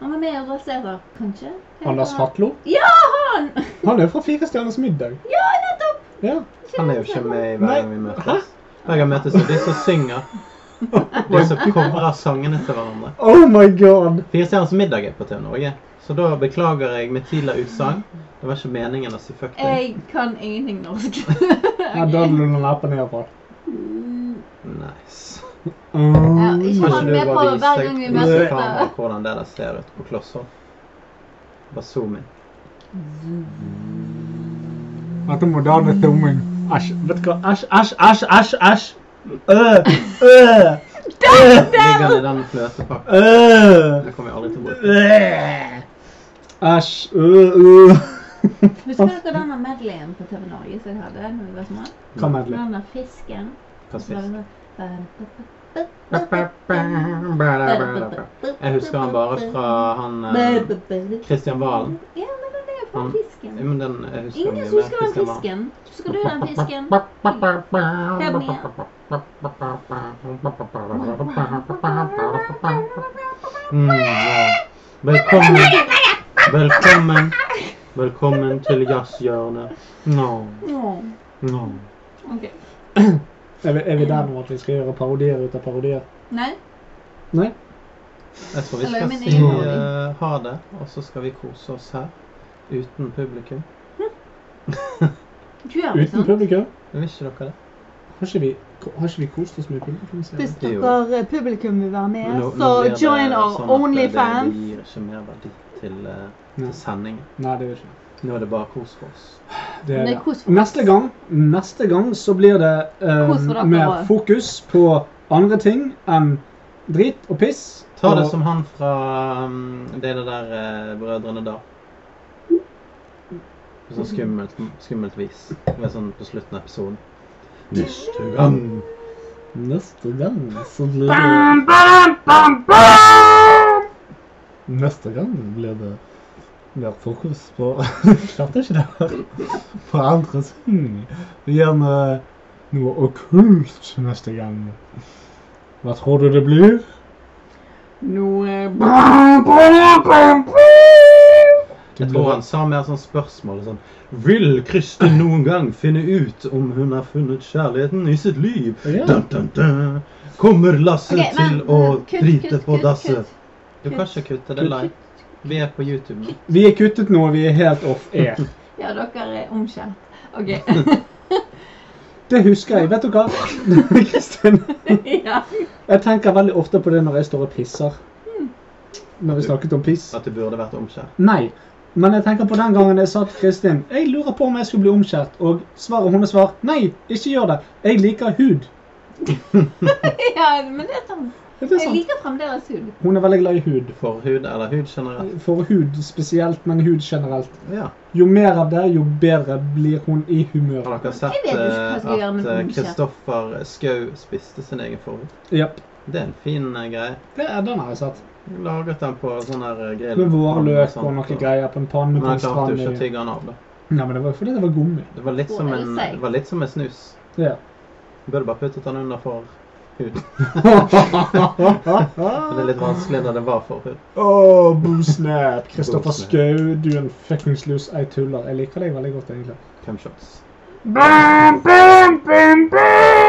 [SPEAKER 4] Han var med i Dressert, kanskje? Hva
[SPEAKER 3] Anders
[SPEAKER 4] heter han?
[SPEAKER 3] Hatlo.
[SPEAKER 4] Ja, han!
[SPEAKER 3] Han er jo fra Fire stjerners middag.
[SPEAKER 4] Ja, nettopp!
[SPEAKER 3] Ja.
[SPEAKER 1] Han er jo ikke med i Hver gang vi
[SPEAKER 3] Hæ?
[SPEAKER 1] møtes. Hver gang vi møtes er de som synger. De som covrer sangene til hverandre.
[SPEAKER 3] Oh my god!
[SPEAKER 1] Fire stjerners middag er på TV Norge, så da beklager jeg mitt tidligere utsagn. Det var ikke meningen å si fuck deg.
[SPEAKER 4] Jeg kan ingenting norsk.
[SPEAKER 3] Ja, da
[SPEAKER 4] Ok.
[SPEAKER 3] vil du lappe ned på.
[SPEAKER 4] Mm,
[SPEAKER 1] Nice.
[SPEAKER 4] Ja, ikke
[SPEAKER 1] Kan ikke
[SPEAKER 4] han med
[SPEAKER 1] du
[SPEAKER 4] på
[SPEAKER 1] bare
[SPEAKER 4] Hver gang vi
[SPEAKER 1] vise
[SPEAKER 4] møtes,
[SPEAKER 1] vise
[SPEAKER 4] da?
[SPEAKER 1] kameraet hvordan det der ser ut på kloss hold? Bare zoom inn.
[SPEAKER 3] Dette må da bli tomming. Æsj. Vet du hva? Æsj, æsj, æsj, æsj, æsj. Øh, øh,
[SPEAKER 1] Ligger han i den fløtepakken?
[SPEAKER 3] øh,
[SPEAKER 1] Det kommer jeg aldri til å bruke.
[SPEAKER 3] øh. Æsj, øh, øh.
[SPEAKER 4] Husker dere den av medleyen på TV Norge som jeg hadde når vi var små?
[SPEAKER 3] Kom, Edley.
[SPEAKER 4] Den av fisken.
[SPEAKER 1] Hva
[SPEAKER 4] Så var
[SPEAKER 1] spist?
[SPEAKER 4] det sånn-
[SPEAKER 1] Jeg husker han bare fra han eh, Christian Valen.
[SPEAKER 4] Ja, men den er jo fra
[SPEAKER 1] Han-
[SPEAKER 4] fisken.
[SPEAKER 1] Men den jeg husker
[SPEAKER 4] Ingen
[SPEAKER 1] mye
[SPEAKER 4] som
[SPEAKER 1] mer
[SPEAKER 4] husker den
[SPEAKER 1] Christian Valen.
[SPEAKER 4] fisken. Husker du den fisken?
[SPEAKER 1] Mm, ja. Velkommen. Velkommen. Velkommen til jazzhjørnet. No,
[SPEAKER 4] Åh,
[SPEAKER 1] no.
[SPEAKER 4] Ok.
[SPEAKER 3] Er vi, er vi der nå at vi skal gjøre parodier ut av parodier?
[SPEAKER 4] Nei,
[SPEAKER 3] Nei?
[SPEAKER 1] Jeg tror vi
[SPEAKER 4] Eller
[SPEAKER 1] skal
[SPEAKER 4] min
[SPEAKER 1] si
[SPEAKER 4] egen
[SPEAKER 1] eh, ha det, og så skal vi kose oss her. Uten publikum.
[SPEAKER 4] gjør vi
[SPEAKER 3] Uten
[SPEAKER 4] sånn?
[SPEAKER 3] publikum?
[SPEAKER 1] Vil ikke dere det?
[SPEAKER 3] Har ikke vi, har ikke vi kost oss med publikum? sier jeg?
[SPEAKER 4] Hvis
[SPEAKER 1] Jo.
[SPEAKER 4] dere eh, publikum vil være med,
[SPEAKER 1] Nå- nå
[SPEAKER 4] så
[SPEAKER 1] blir det
[SPEAKER 4] join
[SPEAKER 1] sånn at
[SPEAKER 4] our
[SPEAKER 1] det-
[SPEAKER 4] Onlyfans.
[SPEAKER 1] Det gir ikke mer verdi til, eh,
[SPEAKER 3] Nei.
[SPEAKER 1] til sendingen.
[SPEAKER 3] Nei, det er det ikke.
[SPEAKER 1] Nå er det bare kos for oss.
[SPEAKER 3] Det er
[SPEAKER 4] Det er
[SPEAKER 3] det.
[SPEAKER 4] kos for oss.
[SPEAKER 3] Neste gang, neste gang så blir det eh,
[SPEAKER 4] Kos for dere
[SPEAKER 3] mer
[SPEAKER 4] også.
[SPEAKER 3] fokus på andre ting enn drit og piss.
[SPEAKER 1] Ta det
[SPEAKER 3] og-
[SPEAKER 1] som han fra um, det der eh, Brødrene Dal. På sånn skummelt, skummelt vis. Med sånn på slutten av episoden. Neste gang.
[SPEAKER 3] Neste gang så blir det Neste gang blir det mer fokus på Klarte ikke det. På andre ting. Gjerne noe okkult neste gang. Hva tror du det blir?
[SPEAKER 4] eh,
[SPEAKER 1] Jeg tror han sa mer sånn spørsmål sånn Vil Kristin noen gang finne ut om hun har funnet kjærligheten i sitt liv?
[SPEAKER 3] Ja.
[SPEAKER 1] Dun, dun, dun. Kommer Lasse
[SPEAKER 4] Ok, men,
[SPEAKER 1] til
[SPEAKER 4] eh,
[SPEAKER 1] å
[SPEAKER 4] kutt, kutt,
[SPEAKER 1] drite på
[SPEAKER 4] kutt,
[SPEAKER 1] dasset?
[SPEAKER 4] kutt.
[SPEAKER 1] Du kan ikke kutte det live. Vi er på YouTube nå.
[SPEAKER 3] Vi er kuttet nå, vi er helt off air.
[SPEAKER 4] Ja, dere er omskjært. Ok.
[SPEAKER 3] Det husker jeg. Vet du hva, Kristin?
[SPEAKER 4] ja.
[SPEAKER 1] Hmm.
[SPEAKER 3] Jeg tenker veldig ofte på det når jeg står og pisser. når vi snakket om piss.
[SPEAKER 1] At det burde vært omskjær.
[SPEAKER 3] Nei. Men jeg tenker på den gangen jeg sa til Kristin Jeg lurer på om jeg skulle bli omskjært. Og svaret hennes var nei, ikke gjør det. Jeg liker hud.
[SPEAKER 4] ja, men det er sant.
[SPEAKER 3] Er sånn. det
[SPEAKER 4] Jeg
[SPEAKER 3] sant?
[SPEAKER 4] liker fremdeles hud.
[SPEAKER 3] Hun er veldig glad i hud.
[SPEAKER 1] Forhud eller hud generelt.
[SPEAKER 3] For hud spesielt, men hud generelt.
[SPEAKER 1] Ja.
[SPEAKER 3] Jo mer av det, jo bedre blir hun i humør.
[SPEAKER 1] Har dere
[SPEAKER 4] Jeg
[SPEAKER 1] sett
[SPEAKER 4] vet ikke hva jeg skal
[SPEAKER 1] eh,
[SPEAKER 4] gjøre med
[SPEAKER 1] at eh,
[SPEAKER 4] omskjær.
[SPEAKER 1] Kristoffer Skau spiste sin egen forhud?
[SPEAKER 3] Japp.
[SPEAKER 1] Det er en fin eh, greie.
[SPEAKER 3] Det er den har jeg sett.
[SPEAKER 1] Laget den på sånn her eh, grill.
[SPEAKER 3] Med vårløk
[SPEAKER 1] sånt,
[SPEAKER 3] og noen greier på en panne
[SPEAKER 1] Men
[SPEAKER 3] på
[SPEAKER 1] han
[SPEAKER 3] en
[SPEAKER 1] klarte jo
[SPEAKER 3] strand.
[SPEAKER 1] ikke å
[SPEAKER 3] i-
[SPEAKER 1] tygge den av. da.
[SPEAKER 3] Nei, men det var jo fordi det var gummi.
[SPEAKER 1] Det var litt
[SPEAKER 4] Å,
[SPEAKER 1] som
[SPEAKER 4] er det
[SPEAKER 1] en,
[SPEAKER 4] seigt?
[SPEAKER 1] det var litt som en snus.
[SPEAKER 3] Ja.
[SPEAKER 1] Burde bare puttet den under for hud. Men det er litt vanskelig når det var for hud.
[SPEAKER 3] Åh, boo snap. Kristoffer
[SPEAKER 1] Boo snap.
[SPEAKER 3] Skau, du er en fuckings lus. Jeg tuller. Jeg liker deg veldig godt, egentlig.
[SPEAKER 1] Cumshots.
[SPEAKER 2] Bam, bam, bam, bam.